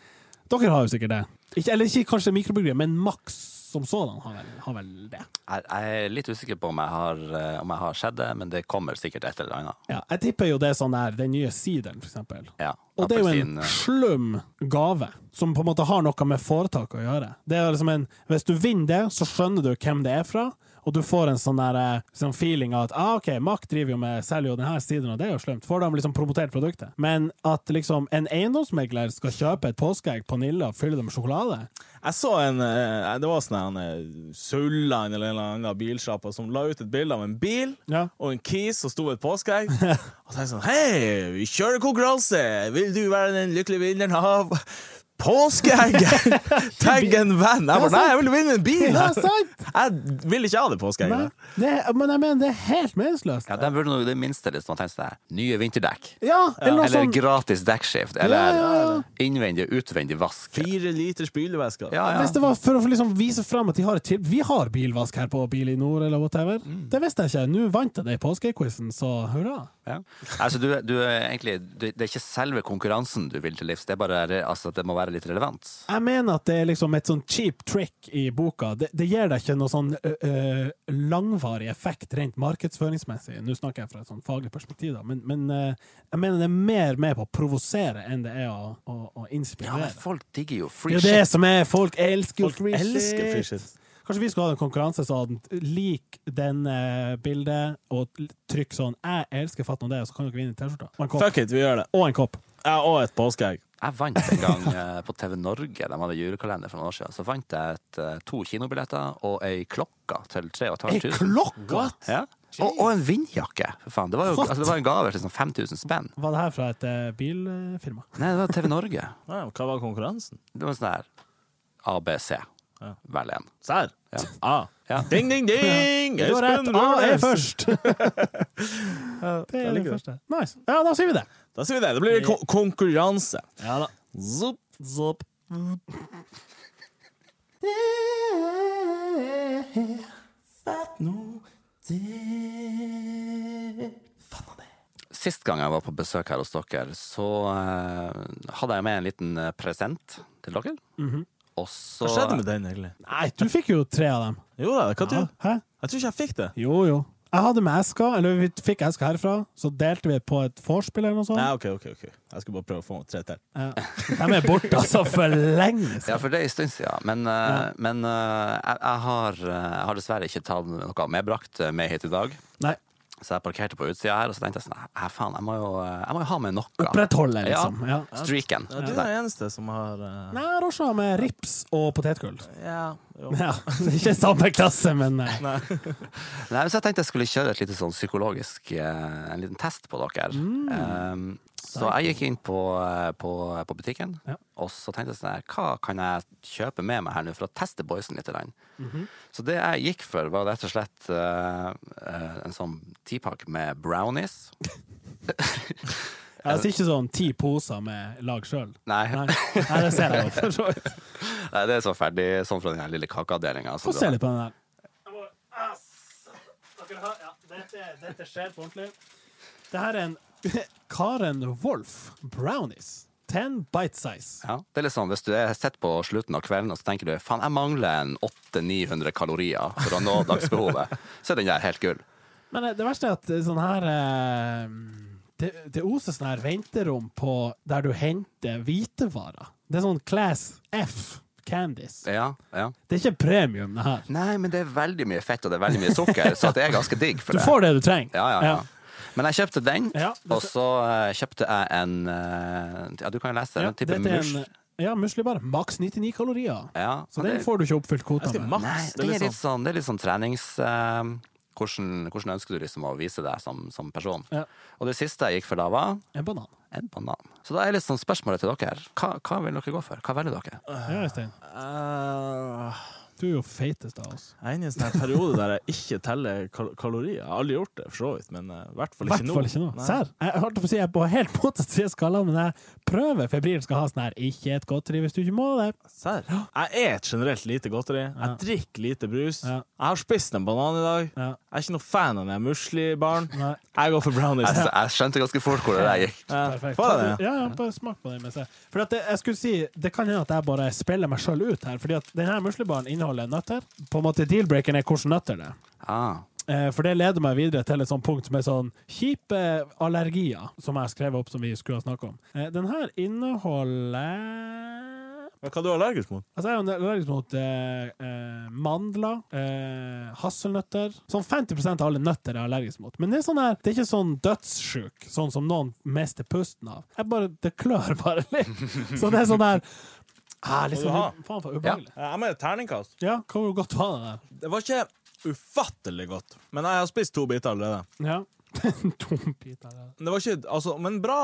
Dere har jo sikkert det. Ikke, eller ikke kanskje mikrobryggeriet, men Max som sådan har vel, har vel det.
Jeg, jeg er litt usikker på om jeg, har, eh, om jeg har sett det, men det kommer sikkert et eller annet.
Ja, jeg tipper jo det er sånn der, den nye sideren, for eksempel.
Ja,
Og det er jo en
appelsin, eh,
slum gave, som på en måte har noe med foretaket å gjøre. Det er liksom en, Hvis du vinner det, så skjønner du hvem det er fra, og du får en sånn der, eh, sånn feeling av at ah, OK, Mack driver jo med selger jo denne siden, og det er jo slemt. Får de liksom promotert produktet. Men at liksom en eiendomsmegler skal kjøpe et påskeegg på Nilla og fylle det med sjokolade
Jeg så en eh, Det var sånn her, han eh, Sulland eller en eller annen bilsjappa som la ut et bilde av en bil.
Ja.
Og en kis som sto ved et
<laughs>
påskeegg. Og tenkte sånn Hei, vi kjører konkurranse! Vil du være den lykkelige vinneren av
<laughs>
påskeegget? Tagg en venn! Jeg bare Nei, jeg vil vinne en bil!
Ja, sant!
Jeg vil ikke ha det
Nei,
påskeegget.
det, men jeg mener, det er helt meningsløst.
ja, de burde nå i det minste liksom tenkt seg nye vinterdekk.
Ja, eller noe sånn-
Eller
sånt.
gratis dekkskift.
Ja, ja, ja.
Eller innvendig og utvendig vask.
Fire liters spylevæske.
Ja, ja.
Hvis det var for å liksom vise fram at de har et til Vi har bilvask her på Bil i Nord, eller whatever. Det visste jeg ikke. Nå vant jeg det i påskequizen, så hurra.
Ja. Altså, du, du er egentlig, du, det er ikke selve konkurransen du vil til livs, det, er bare, re- altså, det må være litt relevant.
Jeg mener at det er liksom et sånn cheap trick i boka. Det, det gir deg ikke noe sånn ø, ø, langvarig effekt rent markedsføringsmessig. Nå snakker jeg fra et sånn faglig perspektiv, da. Men, men ø, jeg mener det er mer med på å provosere enn det er å, å, å
Ja, men
inspirere.
folk digger jo
Det
free
er jo det
shit.
som er Folk elsker jo
Folk elsker free shit.
Kanskje vi skulle ha en konkurranse sånn Lik den eh, bildet Og l- trykk sånn Jeg elsker fatt om det Og så kan dere vinne en t-skjorta Og en kopp
Fuck it, vi gjør det.
Og en kopp
Jeg og et påskeegg.
Jeg vant en gang eh, på TV Norge, de hadde julekalender for noen år siden. Så vant jeg et, eh, to kinobilletter og ei klokka til
En
3500.
klokka
Ja. Og, og en vindjakke! For faen. Det var jo altså, det var en gave til sånn 5000 spenn.
Var det her fra et eh, bilfirma?
Nei, det var TV Norge.
Ja, hva var konkurransen?
Det var sånn her ABC.
Ja.
Velg en.
Serr?
Ja.
Ah.
Ja.
Ding, ding, <laughs> ding!
Du har rett
Espen
A er
Nordnes.
<laughs> først Det
jeg
er det
liker det.
første Nice Ja, da sier vi det
Da sier vi det. Det blir ko konkurranse.
Ja da
Zopp, zopp.
Sist gang jeg var på besøk her hos dere, så eh, hadde jeg med en liten eh, present til dere. Og
Mhm.
så
Hva skjedde med den, egentlig?
Nei, du fikk jo tre av dem.
Jo da, hva du?
Hæ?
Jeg tror ikke jeg fikk det.
Jo, jo. Jeg hadde med eska, eller vi fikk eska herfra, så delte vi på et vorspiel eller noe sånt.
Nei, ok, ok, ok. Jeg skulle bare prøve å få tre til.
Ja. De er borte, altså, for lenge siden.
Ja, for det er en stund siden. Men, eh, men eh, jeg, jeg, har, eh, jeg har dessverre ikke tatt noe medbrakt eh, med hit i dag.
Nei.
Så jeg parkerte på utsida her, og så tenkte jeg sånn Hæ, faen, jeg må jo, eh, jeg må jo ha med noe.
Opprettholde, liksom. Ja.
Ja, streaken.
Ja, du er den eneste som har eh,
Nei, Rosha med rips og potetgull.
Ja. Jo.
<laughs> Ja, ikke samme klasse, men eh,
Nei, så jeg tenkte jeg skulle kjøre et lite sånn psykologisk eh, En liten test på dere.
Mm.
Ehm, så jeg gikk inn på, eh, på, på butikken,
Ja.
og så tenkte jeg sånn her, Hva kan jeg kjøpe med meg her nå for å teste boysen litt? grann?
Mhm.
Så det jeg gikk for, var rett og slett eh, eh, en sånn tipakke med brownies.
altså ikke sånn ti poser med lag sjøl.
Nei,
Nei. Nei, det ser jeg jo. for så vidt.
<laughs> Nei, det er sånn ferdig sånn fra den her lille kakeavdelinga.
Få se litt på den der. Ja, dette, skjer på ordentlig. Det her er en <laughs> Karen Wolf Brownies. Ten bite size.
Ja, det er litt sånn, Hvis du er sett på slutten av kvelden og så tenker du faen, jeg mangler en 800-900 kalorier for å nå
<laughs>
dagsbehovet, så er den der helt gull.
Men eh, det verste er at det er sånn her eh, det, det oser sånn her venterom på der du henter hvitevarer. Det er sånn class F candies.
Ja, ja.
Det er ikke premium, det her.
Nei, men det er veldig mye fett og det er veldig mye sukker, så at det er ganske digg for
<laughs> Du
det.
får det du trenger.
Ja, ja, ja. Men jeg kjøpte den,
Ja, det-
og så eh, kjøpte jeg en eh, Ja, du kan jo lese den.
Ja,
En type
dette er
musj.
en- eh, Ja, muslibar. Maks 99 kalorier.
Ja,
Så
men
den
det-
får du ikke oppfylt kvota
Jeg skal
med.
Nei,
maks. Det
den
er
er
litt
litt
sånn
sånn, det er litt sånn trenings... eh, hvordan, hvordan ønsker du liksom å vise deg som, som person?
Ja.
Og det siste jeg gikk for da, var
En banan.
en banan. Så da er litt sånn spørsmålet til dere. Hva, hva vil dere gå for? Hva velger dere?
Ja, Øystein.
Eh,
Du er jo feitest av oss.
Jeg er inne i en sånn her periode der jeg ikke teller kal kalorier. Jeg har aldri gjort det, for så vidt, men eh, i hvert
I
fall
hvert
ikke nå.
fall ikke nå.
Nei.
Serr? Jeg holdt på å si jeg er på helt <laughs> motsatt side av skalaen, men jeg prøver febrilsk å ha sånn her Ikke et godteri hvis du ikke må det.
Serr? Jeg et generelt lite godteri. Jeg
Ja.
drikker lite brus.
Ja.
Jeg har spist en banan i dag.
Ja.
Jeg er ikke noe fan av den muslibaren.
Nei.
Jeg går for brownies.
Jeg, jeg skjønte ganske fort hvor det der gikk.
Ja.
Perfekt.
Får jeg
Ja,
den, ja?
ja, bare smak på den mens jeg For at det, jeg skulle si, det kan hende at jeg bare spiller meg sjøl ut her, fordi at denne muslibaren inneholder nøtter. På en måte deal-breakeren er hvilke nøtter det er.
Ah.
Eh, For det leder meg videre til et sånt punkt som er sånn kjipe allergier, som jeg skrev opp som vi skulle ha snakket om. Eh, Den her inneholder
Men Hva er du allergisk mot?
Altså, jeg er jo allergisk mot eh, eh, mandler, eh, hasselnøtter Sånn 50 av alle nøtter er jeg allergisk mot. Men det er, sånn her, det er ikke sånn dødssjuk, sånn som noen mister pusten av. Jeg bare, Det klør bare litt. Så det er sånn der
Må du
ah,
ha?
liksom, Faen, for ubehagelig.
Eh, Jeg med et terningkast.
Ja, hvor godt var det der?
Det var ikke ufattelig godt, men jeg har spist to biter allerede.
Ja. <laughs> Tom biter. der.
Det var ikke, altså, men bra,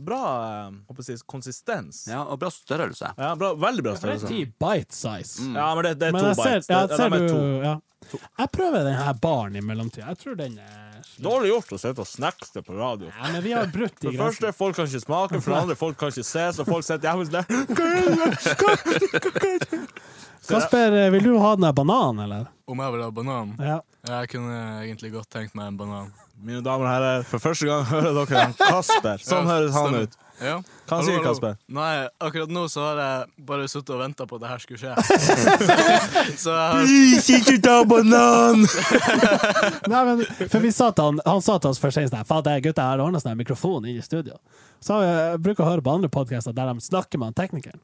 bra eh, håper jeg å si, konsistens. Ja.
Ja, og bra størrelse.
bra, veldig bra
Det er
størrelse.
ti bite size.
Ja, men det, det er
Men
to
jeg ser,
bites. Det,
ja,
de
ser
er
du,
to.
ja. Jeg prøver den her baren i mellomtida. Jeg tror den er slutt.
Dårlig gjort å sitte og snackse på radio.
Ja, men vi har brutt de
For det
grensene.
første, folk kan ikke smake, for det andre, folk kan ikke se, så folk sitter hjemme og sier
Kasper, vil du ha den der bananen, eller?
Om jeg vil ha banan?
Ja.
Jeg kunne egentlig godt tenkt meg en banan.
Mine damer og herrer, for første gang hører dere han Kasper. Sånn
Ja,
høres han
stemmer.
ut. Hva
Ja.
han
Hallo,
sier
hallo.
Kasper?
Nei, akkurat nå så har jeg bare sittet og venta på at det her skulle skje.
<laughs>
så jeg
Ikke ta banan!
Nei, men, for vi sa til han, han sa til oss først sånn Fader, gutta, jeg har ordna sånn her mikrofon inne i studio. Så har vi- jeg bruker å høre på andre podkaster der de snakker med han teknikeren.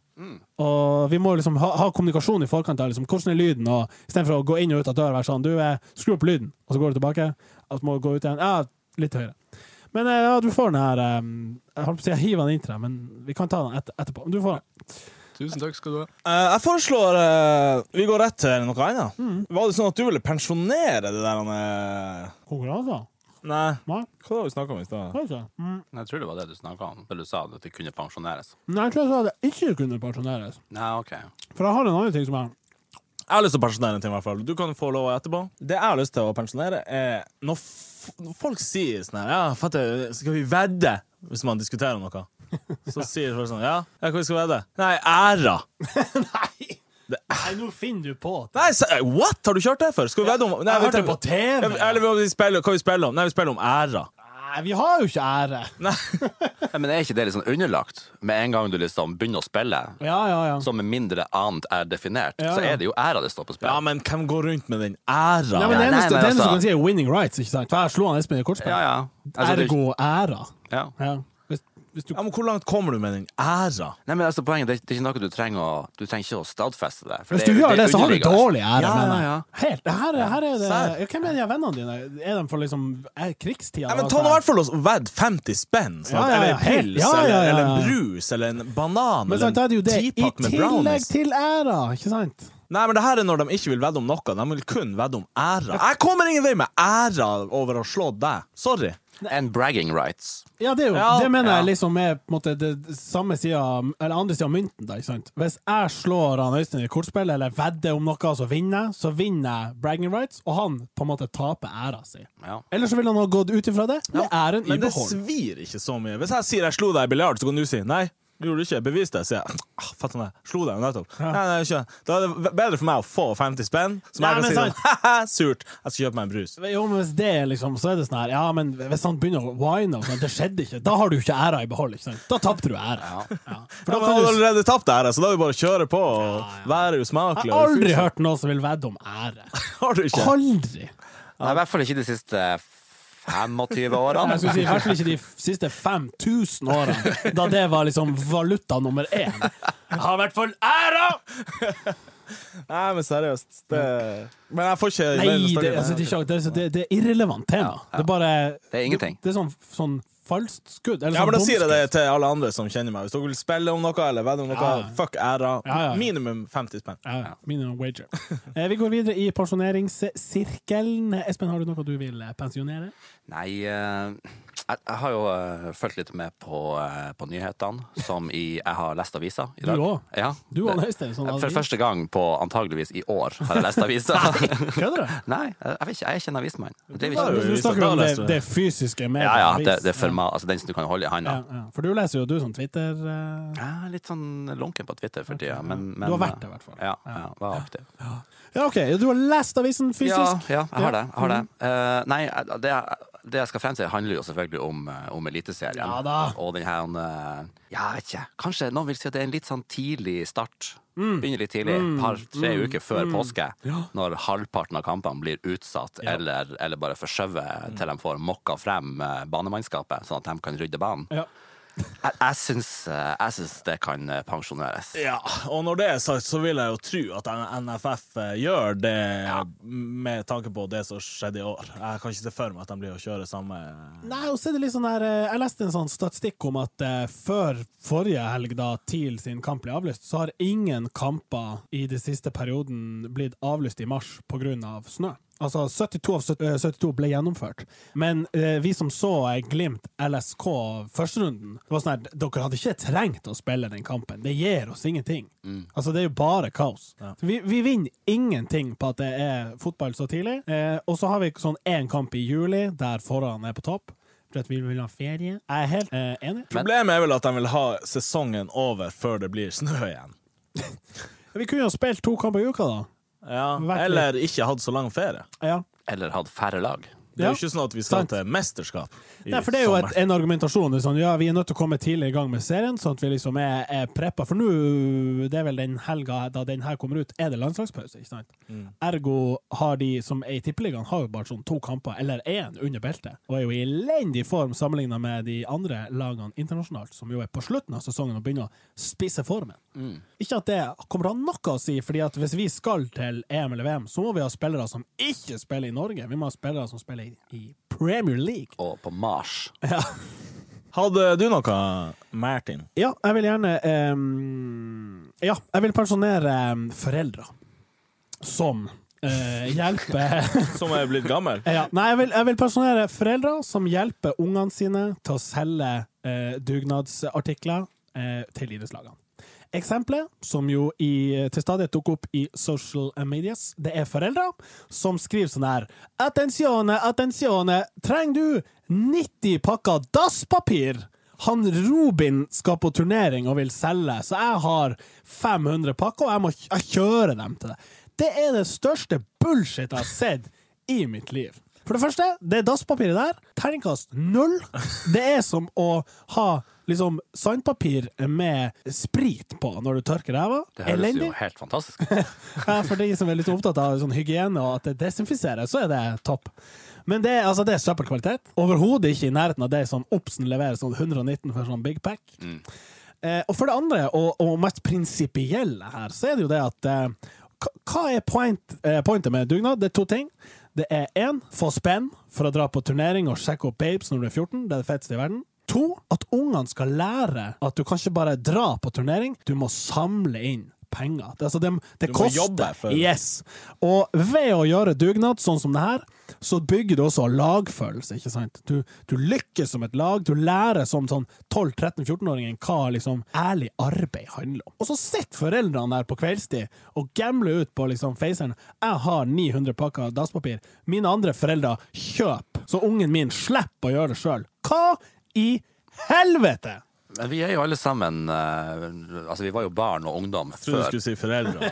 Og vi må liksom ha, ha kommunikasjon i forkant av liksom, hvordan er lyden, og istedenfor å gå inn og ut av døra være sånn Du, eh, skru opp lyden, og så går du tilbake. Og så må du gå ut igjen. Ja, litt høyere. Men eh, ja, du får den her eh, Jeg holdt på å si jeg hiver den inn til deg, men vi kan ta den et, etterpå. Men Du får den.
har Tusen takk skal du ha.
Eh, jeg foreslår eh, Vi går rett til noe annet.
Mm.
Var det sånn at du ville pensjonere det der han eh,
Konkurranser?
Nei,
Nei,
hva var det vi snakka om i stad?
kanskje. Mm.
Jeg tror det var det du snakka om, da du sa at de kunne pensjoneres.
Nei, jeg tror jeg sa det ikke kunne pensjoneres.
Nei, <laughs> ok.
For jeg har en annen ting som jeg
Jeg har lyst til å pensjonere en ting, i hvert fall. Du kan få lov etterpå. Det jeg har lyst til å pensjonere, er når, f når folk sier sånn her Ja, fatter, skal vi vedde? Hvis man diskuterer noe. Så sier folk sånn Ja, ja hva vi skal vedde? Nei, æra.
Nei, nå finner du på.
Nei, se- what? Har du kjørt det før? Skal vi vedde om Nei,
Jeg
vi
hørte det
tenker-
på TV.
Ja, Eller vi spiller, hva vi spiller om? Nei, vi spiller om æra.
Nei, vi har jo ikke ære.
Nei, men er ikke det litt sånn underlagt? Med en gang du liksom begynner å spille,
Ja, ja, ja.
som med mindre annet er definert,
Ja,
så
ja.
er det jo æra det står på spill.
Ja, men hvem går rundt med den æra?
Nei, men Det
nei,
eneste, det
men
eneste du
altså-
kan si, er 'winning rights'. ikke sant? For jeg slo han Espen i kortspill.
ja, ja. Altså, det er jo
Ergo æra.
ikke- ja.
Ja. Hvis, hvis du
Ja, men Hvor langt kommer du med den æra?
Nei, men altså, poenget det, det er ikke noe du trenger å Du trenger ikke å stadfeste det. for
Hvis
er-
du gjør
er
det, så har du
underliggende.
dårlig ære,
Ja,
mener jeg.
ja, ja.
Helt, det her, er- her er det,
Sær.
ja, hvem er de her vennene dine? Er de for liksom er krigstida?
Nei, men Ta nå i hvert fall og vedd 50 spenn, sånn,
Ja, ja, ja.
eller en pils,
Ja, ja, ja, ja.
Eller, eller en brus, eller en banan,
Men sant, da er det
eller
jo
en
det, i
teapot med
tillegg
brownies.
til æra, ikke sant?
Nei, men det her er når de ikke vil vedde om noe, de vil kun vedde om æra. Jeg kommer ingen vei med æra over å slå deg. Sorry.
And bragging rights.
Ja, det, er jo,
Ja,
det mener
ja.
jeg liksom er på en måte det samme sida, eller andre sida av mynten. da, ikke sant? Hvis jeg slår han Øystein i kortspill, eller vedder om noe, så vinner jeg, så vinner jeg bragging rights, og han på en måte taper æra si.
Ja.
Eller så ville han ha gått ut ifra det med æren i
Men det
behold.
svir ikke så mye. Hvis jeg sier jeg slo deg i biljard, så kan du si nei. Du gjorde ikke, Bevis det. sier jeg. Ah, fatter meg. Slo deg jo nettopp. Nei, nei, ikke. Da er det bedre for meg å få 50 spenn, som
Nei,
jeg
men
kan si sånn, <laughs> haha, surt, jeg skal kjøpe meg en brus.
Jo, men hvis det er liksom, så er det sånn her Ja, men hvis han begynner å whine og sånn, det skjedde ikke, da har du ikke æra i behold, ikke sant? Da tapte du æra. Ja. For
Ja,
da
men han har
kan du
allerede tapt det her, så da er det bare å kjøre på og være usmakelig.
Jeg har aldri hørt noen som vil vedde om ære.
Har du ikke?
Aldri!
Nei, I hvert fall ikke de siste 25
<laughs>
årene.
Jeg skulle si i hvert fall ikke de siste 5000 årene, da det var liksom valuta nummer én. Jeg har i hvert fall æra!
Nei, men seriøst. Det... Men jeg får ikke
Nei, det, altså, det, er ikke- det, er- det, det er irrelevant tema. Det er bare
Det er ingenting.
Det, det er sånn, sånn falskt skudd. Eller
Ja,
sånn
men Da sier jeg det
bomskudd.
til alle andre som kjenner meg. Hvis dere vil spille om noe eller vedde om noe,
Ja.
fuck æra.
Ja, ja, ja.
Minimum 50 spenn.
Ja, ja. Minimum wager. Eh, vi går videre i pensjoneringssirkelen. Espen, har du noe du vil eh, pensjonere?
Nei, eh, jeg, jeg har jo eh, fulgt litt med på, eh, på nyhetene, som i Jeg har lest avisa i dag.
Du òg?
Ja.
Du og
Det-
Øystein. Sånn,
For første gang på antageligvis i år har jeg lest avisa. <laughs>
Kødder du?
Nei, jeg, jeg vet ikke. Jeg er ikke en avismann. Jeg driver
var
ikke-
jo-
Du snakker jo om det, det fysiske med
altså. Ja, ja,
avis.
det, det er format, altså den som du kan holde i
Ja,
handa.
ja. For du leser jo du sånn Twitter eh,
Jeg er litt sånn lunken på Twitter for tida, men, men
Mm.
eh,
Du har vært det, i hvert fall.
Ja, ja, var aktiv.
Ja, OK. Du har lest avisen fysisk? Mm.
Ja, ja jeg har det. Jeg har det. Eh, nei, jeg- det, jeg- det jeg skal frem til, handler jo selvfølgelig om, eh, om Eliteserien.
Ja da.
Og den her eh, Ja, jeg vet ikke. Kanskje noen vil si at det er en litt sånn tidlig start.
Mm.
Begynner litt tidlig. Par-tre uker før påske. Når halvparten av kampene blir utsatt eller, eller bare forskjøvet
Mm.
til de får mokka frem eh, banemannskapet, sånn at de kan rydde banen.
Ja.
Jeg, jeg, syns, eh, jeg syns det kan eh, pensjoneres.
Ja, og når det er sagt, så vil jeg jo tro at NFF eh, gjør det med tanke på det som skjedde i år. Jeg kan ikke se for meg at de blir å kjøre samme
Nei, og så er det litt sånn her eh, Jeg leste en sånn statistikk om at eh, før forrige helg, da TIL sin kamp ble avlyst, så har ingen kamper i den siste perioden blitt avlyst i mars pga. snø. Altså 72 av sytt- eh, 72 ble gjennomført. Men eh, vi som så eh, Glimt LSK førsterunden, det var sånn her Dere hadde ikke trengt å spille den kampen. Det gir oss ingenting. Altså, det er jo bare kaos. Vi, vi vinner ingenting på at det er fotball så tidlig. Eh, og så har vi sånn én kamp i juli der forholdene er på topp. For at vi vil ha ferie. Jeg er helt eh, enig.
Problemet er vel at de vil ha sesongen over før det blir snø igjen.
Vi kunne jo spilt to kamper i uka, da.
Ja,
Virkelig.
Eller ikke hatt så lang ferie.
Ja.
Eller hatt færre lag.
Det er
Ja.
jo ikke sånn at vi skal
Sant.
til mesterskap i
Nei, for det er jo et,
sommer.
en argumentasjon. Det er sånn, ja, vi er nødt til å komme tidlig i gang med serien, sånn at vi liksom er, er preppa. For nå, det er vel den helga da den her kommer ut, er det landslagspause, ikke sant?
Mm.
Ergo har de som er i Tippeligaen, har jo bare sånn to kamper, eller én, under beltet. Og er jo i elendig form sammenligna med de andre lagene internasjonalt, som jo er på slutten av sesongen og begynner å spisse formen.
Mm.
Ikke at det kommer til å ha noe å si, fordi at hvis vi skal til EM eller VM, så må vi ha spillere som ikke spiller i Norge. Vi må ha spillere som spiller i, i Premier League.
Og på Mars.
Hadde du noe, Martin?
Ja, jeg vil gjerne ehm, Ja, jeg vil pensjonere ehm, foreldre som eh, hjelper
Som er blitt gammel?
ja, Nei, <laughs> jeg vil, jeg vil pensjonere foreldre som hjelper ungene sine til å selge eh, dugnadsartikler eh, til idrettslagene. Eksempelet, som jo i, til stadighet dukker opp i social medias, det er foreldre som skriver sånn her Attenzione, attenzione, trenger du 90 pakker dasspapir? Han Robin skal på turnering og vil selge, så jeg har 500 pakker, og jeg må jeg kjøre dem til deg. Det er det største bullshit jeg har sett i mitt liv. For det første, det dasspapiret der, terningkast null. Det er som å ha liksom sandpapir med sprit på når du tørker ræva.
Det høres
Elendig.
jo helt fantastisk ut.
<laughs> Ja, for de som er litt opptatt av sånn hygiene og at det desinfiseres, så er det topp. Men det, er- altså, det er søppelkvalitet. Overhodet ikke i nærheten av det som Obsen leverer sånn 119 for sånn big pack. Eh, og for det andre, og, og mest prinsipielle her, så er det jo det at eh, hva- Hva er point, eh, pointet med dugnad? Det er to ting. Det er én få spenn for å dra på turnering og sjekke opp babes når du er 14. Det er det feteste i verden. To, at ungene skal lære at du kan ikke bare dra på turnering, du må samle inn penger. Det, altså, det, det
Du må
koster.
jobbe for-
Yes. Og ved å gjøre dugnad sånn som det her, så bygger du også lagfølelse, ikke sant? Du, du lykkes som et lag, du lærer som sånn 12-13-14-åringen hva liksom ærlig arbeid handler om. Og så sitter foreldrene der på kveldstid og gambler ut på liksom faceren. Jeg har 900 pakker dasspapir. Mine andre foreldre kjøper, så ungen min slipper å gjøre det sjøl. Hva i helvete?!
Men vi er jo alle sammen eh, Altså, vi var jo barn og ungdom
Trodde du
før.
skulle si foreldre.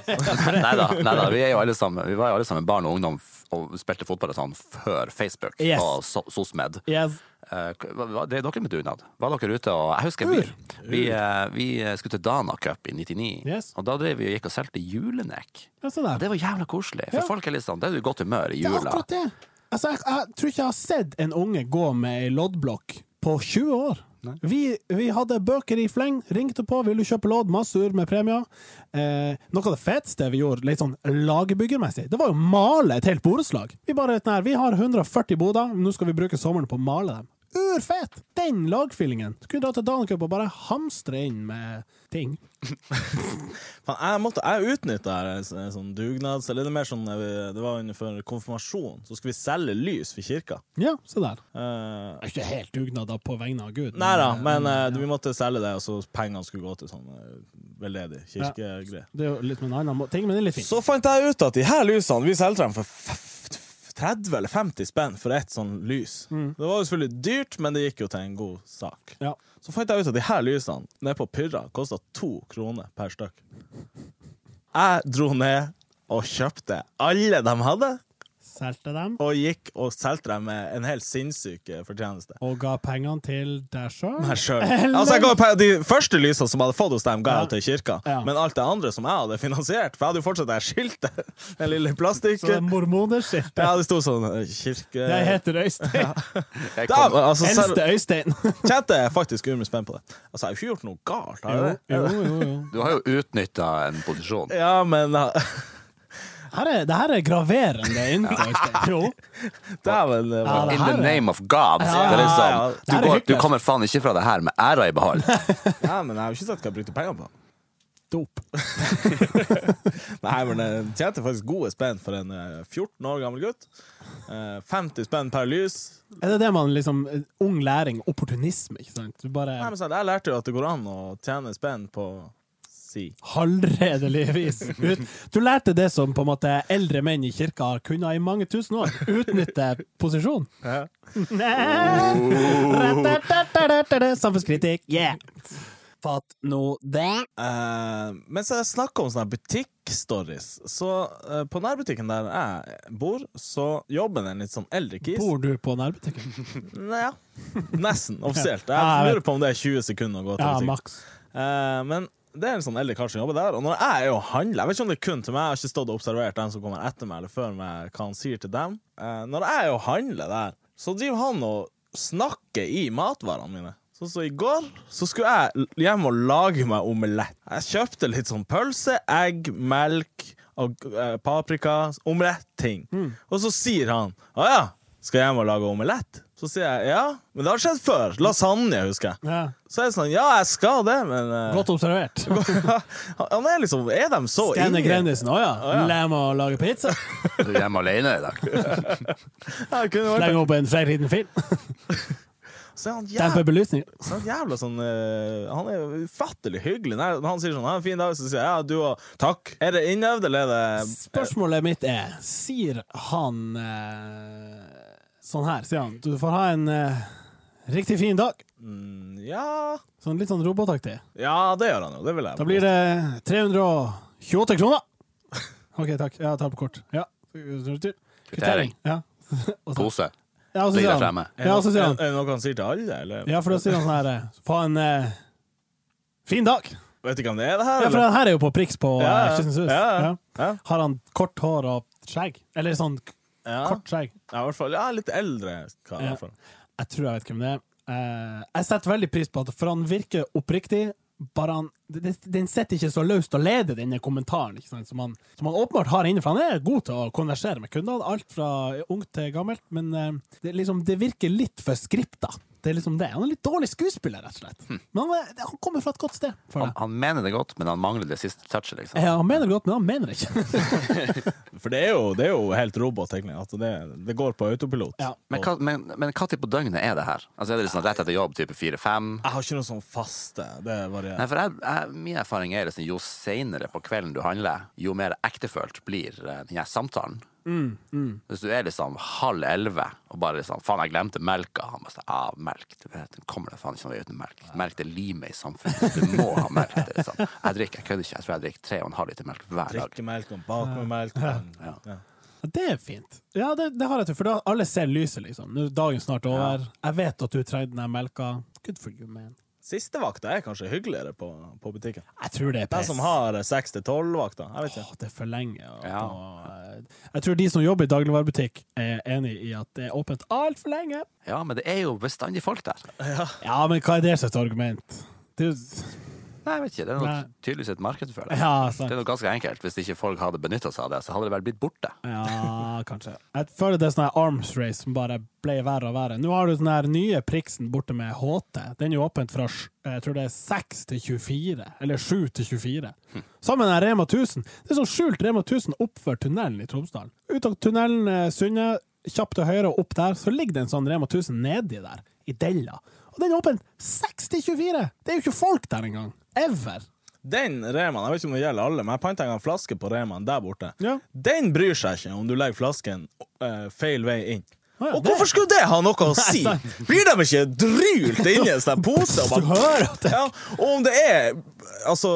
Neida, neida, vi, er jo alle sammen, vi var jo alle sammen barn og ungdom f- og spilte fotball og sånn før Facebook
Yes.
og so SOSMED.
Yes.
Eh, hva- hva- Det er dere med dugnad. Var dere ute og Jeg husker vi, vi, eh, vi skulle til Dana Cup i 99.
Yes.
Og da drev vi og gikk og solgte julenek.
Ja, se der.
Det var jævla koselig. For
Ja.
folk er litt sånn, det er du i godt humør i
Det er
jula.
akkurat det. Altså, jeg, jeg tror ikke jeg har sett en unge gå med ei loddblokk på 20 år. Vi, vi hadde bøker i fleng, ringte på, ville kjøpe lodd, masse ur med premier. Eh, noe av det feteste vi gjorde, litt sånn lagbyggermessig, det var jo å male et helt borettslag. Vi bare sånn her, vi har 140 boder, nå skal vi bruke sommeren på å male dem. Urfett! Den lagfyllingen. Skulle dra til Danecup og bare hamstre inn med ting.
Faen, jeg måtte, jeg utnytta her en sånn- en sånn dugnads... Eller det, er mer sånn, eh, det var innenfor konfirmasjon. Så skulle vi selge lys for kirka.
Ja, se der.
Eh,
Det er ikke helt dugnad da på vegne av Gud.
nei da, men eh,
ja.
vi måtte selge det, og så pengene skulle gå til sånn eh, veldedig kirkegreie.
Det er jo litt med en annen må- ting, men det er litt fint.
Så fant jeg ut at de her lysene Vi solgte dem for f- f- 30 eller 50 spenn for ett sånn lys. Det var jo selvfølgelig dyrt, men det gikk jo til en god sak.
Ja.
Så fant jeg ut at de her lysene nede på Pyrra kosta to kroner per stykk. Jeg dro ned og kjøpte alle de hadde,
Solgte dem,
og gikk og solgte dem med en helt sinnssyk eh, fortjeneste.
og ga pengene til deg sjøl.
Meg selv.
<laughs> Eller-
Altså, jeg ga pe- de første lysene som jeg hadde fått hos dem, ga jeg til kirka.
Ja.
Men alt det andre som jeg hadde finansiert For jeg hadde jo fortsatt det her skiltet. <laughs> Den lille
Så det er
plastikken.
mormonerskiltet.
Ja, det sto sånn eh, kirke...
Jeg heter Øystein.
Jeg
da,
kom,
altså, selv, <laughs>
Eldste Øystein.
tjente jeg faktisk umiddelbart spent på det. Altså, jeg har jo ikke gjort noe galt. Har jeg det?
jo, jo, jo.
du har jo utnytta en posisjon.
Ja, men eh, <laughs>
Her er, det her er graverende innenfor Øystein. Jo.
Dæven. det eh, var-
Ja, det
In
her
the
er-
name of God. det er
ja, ja.
liksom,
Det
her er
du, går, du
hyggelig. altså.
kommer faen ikke fra det her med æra i behold.
<laughs> Ja, men jeg har jo ikke sagt hva jeg brukte pengene på.
Dop.
<laughs> Nei, men jeg tjente faktisk gode spenn for en eh, 14 år gammel gutt. Eh, 50 spenn per lys.
Er det det man liksom eh, Ung læring, opportunisme, ikke sant? Du
Nei,
bare
men sant, Jeg lærte jo at det går an å tjene spenn på si.
halvredeligvis ut. Du lærte det som på en måte eldre menn i kirka har kunnet i mange tusen år. Utnytte posisjon.
Ja.
Oh. Samfunnskritikk, yeah! Fatt nå det.
Eh, mens jeg snakker om sånne butikkstories, så eh, på nærbutikken der jeg bor, så jobber det en litt sånn eldre kis.
Bor du på nærbutikken?
Nei,
<laughs>
ja. Nesten, offisielt.
Ja,
Jeg
jeg vet.
lurer på om det er 20 sekunder å gå til
Ja,
butikken.
maks.
Eh, men det er en sånn eldre kar som jobber der. Og når jeg er og handler Jeg vet ikke om det er kun til meg, jeg har ikke stått og observert dem som kommer etter meg, eller før meg, hva han sier til dem. Eh, når jeg er og handler der, så driver han og snakker i matvarene mine. Sånn som i går, så skulle jeg l- hjem og lage meg omelett. Jeg kjøpte litt sånn pølse, egg, melk, og, eh, paprika, omelett-ting. Og så sier han Å ja, skal jeg hjem og lage omelett? Så sier jeg ja, men det har skjedd før. Lasagne, husker jeg.
Ja.
Så er det sånn, ja, jeg skal det, men eh,
Godt observert.
Han er liksom Er de så
Steinar
inni?
Grendisen, å ja.
ja.
Lær meg å lage pizza.
Du er hjemme alene
<laughs>
i dag.
Ja, det kunne vært det.
Legge opp en flere liten film.
Så er han
Dempe
jævla,
belysning.
så er han jævla sånn eh, Han er ufattelig hyggelig. Når han sier sånn, ha en fin dag, så sier jeg ja, du òg. Takk. Er det innøvd, eller er det
Spørsmålet mitt er, sier han eh, sånn her, sier han, du får ha en eh, Riktig fin dag.
Mm, ja
Sånn litt sånn robotaktig.
Ja, det gjør han jo. Det vil jeg.
Da blir det 328 kroner. OK, takk. Jeg tar på kort. Ja. Kvittering. Ja. Og så-
Pose.
Ja, og så sier
Ligger der
han
fremme.
Er det
Ja, og så sier
noe-
han
er det noe han sier til alle, eller?
Ja, for da sier han sånn her eh, Faen, eh, fin dag.
Vet ikke om det er det her,
Ja, for
eller?
den her er jo på priks på
Ja, ja.
eh, Kystens Hus.
Ja, ja.
Ja.
Ja.
Har han kort hår og skjegg? Eller sånn k-
Ja.
kort skjegg?
Ja, i hvert fall. Ja, litt eldre kar, i
Ja.
hvert fall.
Jeg tror jeg vet hvem det er. Eh, jeg setter veldig pris på at For han virker oppriktig. Bare han, det- den sitter ikke så løst og ledig, denne kommentaren, ikke sant? Som, han, som han åpenbart har inne. For han er god til å konversere med kundene, alt fra ungt til gammelt. Men eh, det, er liksom, det virker litt for skripta. Det er liksom det. Han er litt dårlig skuespiller, rett og slett. Men han, er- han kommer fra et godt sted. For
Han,
det.
han mener det godt, men han mangler det siste touchet, liksom.
Ja, han mener det godt, men han mener det ikke.
For det er jo, det er jo helt robot, egentlig. At det, det går på autopilot.
Ja.
Men hva, men, men hva tid på døgnet er det her? Altså Er det liksom rett etter jobb, type fire-fem?
Jeg har ikke noe sånn faste. Det
Nei,
varierer.
for jeg, jeg, Min erfaring er liksom jo seinere på kvelden du handler, jo mer ektefølt blir eh, den her samtalen.
Mm,
Hvis du er liksom halv elleve og bare liksom 'faen, jeg glemte melka', han bare sånn, ah, 'melk', du vet, det kommer det faen ikke noe vei uten melk. Melk det limet i samfunnet, du må ha melk. Det er sånn. Jeg drikker, jeg kødder ikke, jeg tror jeg drikker tre og en halv liter melk hver dag.
Drikke melk og bake med melk.
Ja.
Ja.
Ja, Det er fint. Ja, det, det har jeg til, for da alle ser lyset, liksom. Nå er dagen snart over. Jeg vet at du trengte den melka. Good for you, man.
Siste vakta er kanskje hyggeligere på, på butikken.
Jeg tror det er
De
pes.
som har seks til tolv-vakta. Jeg vet ikke.
Åh, det er for lenge. og-
Ja.
og, eh, jeg tror de som jobber i dagligvarebutikk, er enig i at det er åpent altfor lenge.
Ja, men det er jo bestandig folk der.
Ja, men hva er det sitt argument? Du,
Nei, jeg vet ikke, det er noe,
Nei.
tydeligvis et marked for det.
ja,
Det er
sant.
noe ganske enkelt. Hvis ikke folk hadde benytta seg av det, så hadde det vel blitt borte.
Ja, kanskje. Jeg føler det er sånn her arms race som bare ble verre og verre. Nå har du den her nye priksen borte med HT. Den er jo åpent fra sj- eh, jeg tror det er 6 til 24, eller 7 til 24. Sammen med Rema 1000. Det er sånn skjult Rema 1000 oppfor tunnelen i Tromsdalen. Ut av tunnelen eh, Sunne, kjapt til høyre og opp der, så ligger det en sånn Rema 1000 nedi der, i Della. Og den er åpen 6 til 24! Det er jo ikke folk der engang. Ever.
Den Remaen, jeg vet ikke om det gjelder alle, men jeg panta en flaske på Remaen der borte.
Ja.
Den bryr seg ikke om du legger flasken eh, feil vei inn.
Å ja,
og
det-
hvorfor skulle det ha noe å si?
sant.
Blir de ikke drylt inni en sånn pose?
Du
Og, bare,
hører at det
ja, og om det er Altså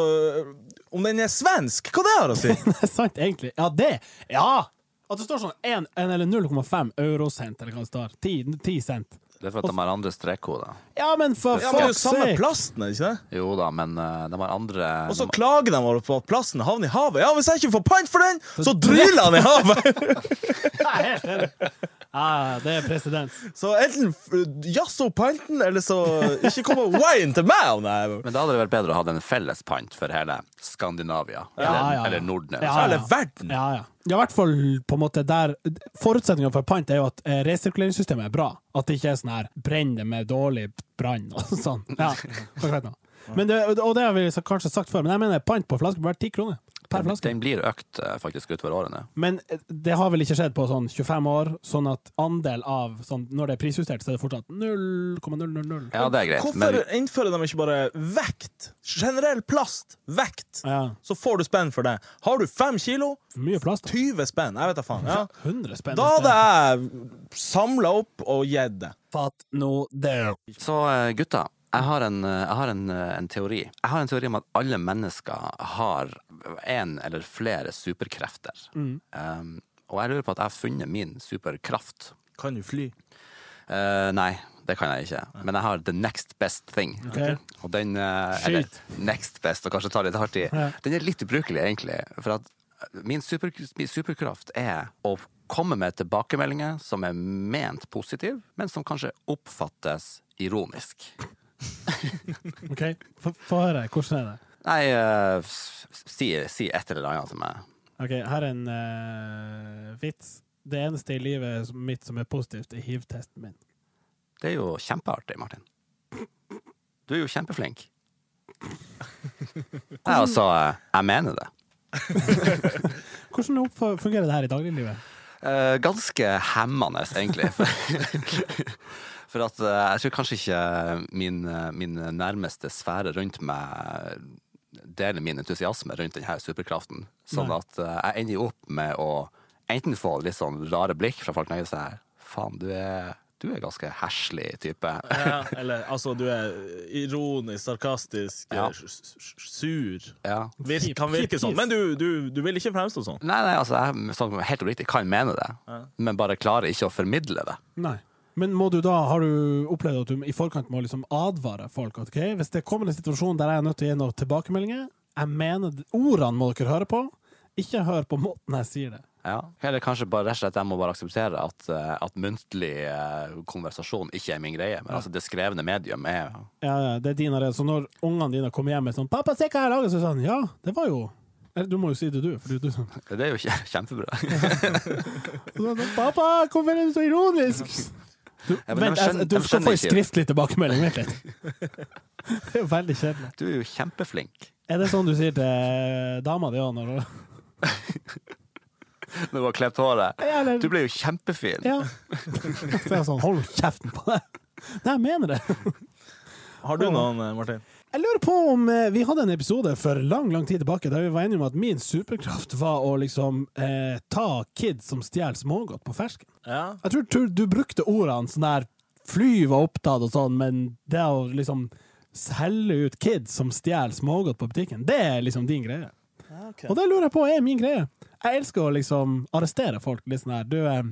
Om den er svensk, hva det har å si?
<laughs> Det er sant, egentlig. Ja, det! Ja! At det står sånn 1, eller 0,5 eurocent, eller hva det står. 10, 10 cent.
Det er for at de har andre strekkoder.
Ja, men for
Ja, men det er jo
fuck's
samme
sake!
plasten, er det ikke det?
Jo da, men eh, de har andre
Og så
de-
klager de over på at plasten havner i havet. Ja, Hvis jeg ikke får pant for den, så dryler han i <laughs> havet!
Nei, helt enig. Ja, det er presedens.
Så enten eh, jazz opp panten, eller så ikke kommer wine til meg! om det er
Men da hadde det vært bedre å ha en felles pant for hele Skandinavia. eller,
ja, ja.
eller Norden. Eller
Ja,
sånn.
Hele verden!
Ja, ja. ja, i hvert fall på en måte der Forutsetningen for pant er jo at eh, resirkuleringssystemet er bra. At det ikke er sånn her brenn det med dårlig brann og <laughs> sånn. Ja, akkurat nå. Men det, og det har vi så kanskje sagt før, men jeg mener pant på flasker bør være 10 kroner per
Den,
flaske.
den blir økt eh, faktisk utover årene.
Men eh, det har vel ikke skjedd på sånn 25 år, sånn at andel av sånn, Når det er prisjustert, så er det fortsatt 0,000.
Ja, det er greit.
Hvorfor
Men
innfører de ikke bare vekt? Generell plast. Vekt.
Ja.
Så får du spenn for det. Har du fem kilo,
For mye plass, da.
20 spenn. Jeg vet da faen. Ja.
100 spenn.
Da hadde jeg samla opp og gitt det.
Fatt nå det.
så eh, gutta, jeg har, en, eh, jeg har en, eh, en teori. Jeg har en teori om at alle mennesker har en eller flere superkrefter.
Mm.
Um, og jeg lurer på at jeg har funnet min superkraft.
Kan du fly?
Eh, nei, det kan jeg ikke. Men jeg har the next best thing.
Ok.
Og den eh, Eller next best, og kanskje ta litt hardt i.
Ja.
Den er litt ubrukelig, egentlig. For at min, super, min superkraft er å komme med tilbakemeldinger som er ment positive, men som kanskje oppfattes ironisk.
OK, få få høre. Hvordan er det?
Nei, eh, s- si, si et eller annet til meg.
OK, her er en eh, vits. Det eneste i livet som- mitt som er positivt, er hiv-testen min.
Det er jo kjempeartig, Martin. Du er jo kjempeflink. Nei, altså, eh, jeg mener det.
Hvordan oppf- fungerer det her i dagliglivet?
Eh, ganske hemmende, egentlig. For, for at eh, jeg tror kanskje ikke min, eh, min nærmeste sfære rundt meg deler min entusiasme rundt denne superkraften. Sånn
Nei.
at eh, jeg ender jo opp med å enten få litt sånn rare blikk fra folk når jeg sier Faen, du er du er ganske herslig type.
Ja, eller altså, du er ironisk, sarkastisk,
Ja.
eh, s- s- s- sur.
Ja.
Vir- kan virke sånn, men du, du, du vil ikke fremstå sånn.
Nei, nei, altså, jeg sånn, helt oppriktig kan mene det, men bare klarer ikke å formidle det.
Nei. Men må du da, har du opplevd at du i forkant må liksom advare folk? at, ok, Hvis det kommer en situasjon der jeg er nødt til å gi noen tilbakemeldinger Jeg mener d- ordene må dere høre på, ikke hør på måten jeg sier det.
Ja. Eller kanskje bare rett og slett jeg må bare akseptere at, eh, at muntlig eh, konversasjon ikke er min greie, men altså det skrevne medium er
Ja, ja, det er din arena. Så når ungene dine kommer hjem med sånn 'Pappa, se hva jeg lager', så er det sånn 'Ja, det var jo Eller du må jo si det, du. For du, du sånn,
Det er jo kje- <laughs> kjempebra.
sånn, 'Pappa, hvorfor er du så ironisk?' Du,
Ja, men de
vent, jeg,
skjønner-
du
de
skal få
skjønner
en
ikke.
skriftlig tilbakemelding. Vent litt. <laughs> Det er jo veldig kjedelig.
Du er jo kjempeflink.
Er det sånn du sier til dama di òg når hun
Når du har klippet håret.
Eller-
Du ble jo kjempefin.
Ja. <laughs> Så jeg sånn, hold kjeften på deg. Nei, jeg mener det.
Har du noen, eh, Martin?
Jeg lurer på om eh, vi hadde en episode for lang, lang tid tilbake der vi var enige om at min superkraft var å liksom eh, ta kids som stjeler smågodt på fersken.
Ja.
Jeg tror, tror du brukte ordene sånn der fly var opptatt og sånn, men det å liksom selge ut kids som stjeler smågodt på butikken, det er liksom din greie. Og det lurer jeg på er min greie. Jeg elsker å liksom arrestere folk litt sånn her. Du, eh,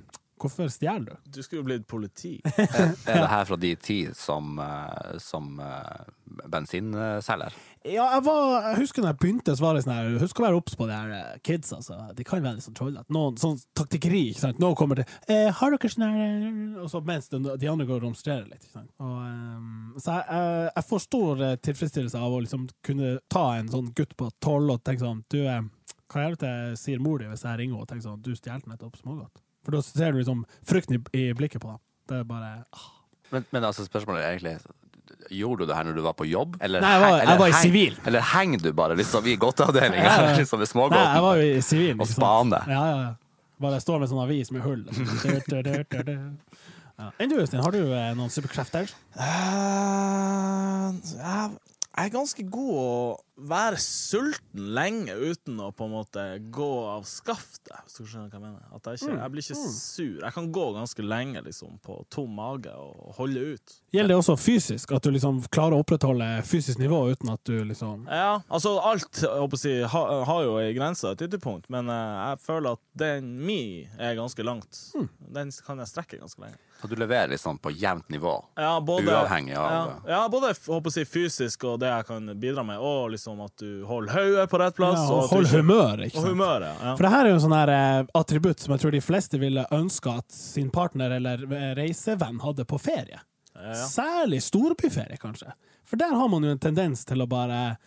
hvorfor stjeler du?
Du skulle jo blitt politi.
Er det her fra de ti som, eh, som eh, bensinselger?
Ja, jeg, var, jeg husker når jeg begynte, så var det sånn her Husk å være obs på de her eh, kids, altså. De kan være litt sånn trollete. Noen sånn taktikkeri, ikke sant. Noen kommer til eh, 'Har dere sånn her eh?» Og så mens de, de andre går og romstrerer litt, ikke sant. Og, eh, så jeg, jeg, jeg får stor eh, tilfredsstillelse av å liksom kunne ta en sånn gutt på tolv og tenke sånn Du, eh, hva i helvete sier mor di hvis jeg ringer og tenker sånn Du stjal nettopp smågodt. For da ser du liksom frykten i, i blikket på dem. Det er bare ah.
Men, men altså spørsmålet er egentlig Gjorde du det her når du var på jobb? Eller,
Nei, jeg var-
heng-
jeg var i
heng-
sivil.
Eller henger du bare liksom i
Ja, ja.
godteavdelinga? <laughs> liksom
Nei,
ved
jeg
smågodten?
var jo i sivil. ikke sant?
spane.
Ja, ja, ja. Bare jeg står med sånn avis med hull. Liksom. Dur, dur, dur, dur. Ja. Enn du, Øystein, har du eh, noen superkrefter?
<laughs> Eh, jeg jeg er ganske god å være sulten lenge uten å på en måte gå av skaftet. Hvis du skjønner hva jeg mener. At jeg, ikke, jeg blir ikke sur. Jeg kan gå ganske lenge liksom, på tom mage og holde ut.
Gjelder det også fysisk? At du liksom klarer å opprettholde fysisk nivå uten at du liksom
Ja, altså alt jeg håper å si, ha, har jo ei grense, et ytterpunkt, men eh, jeg føler at den mi er ganske langt. Den kan jeg strekke ganske lenge.
Så du leverer liksom på jevnt nivå?
Ja, både,
Uavhengig av-
ja, ja, både f- håper jeg å si, fysisk og det jeg kan bidra med, og liksom at du holder hodet på rett plass.
ja,
og at du
Hold
ikke-
humøret, ikke
Og
sant?
humøret. Ja.
For det her er jo en sånn her eh, attributt som jeg tror de fleste ville ønske at sin partner eller eh, reisevenn hadde på ferie.
Ja, ja.
Særlig storbyferie, kanskje. For der har man jo en tendens til å bare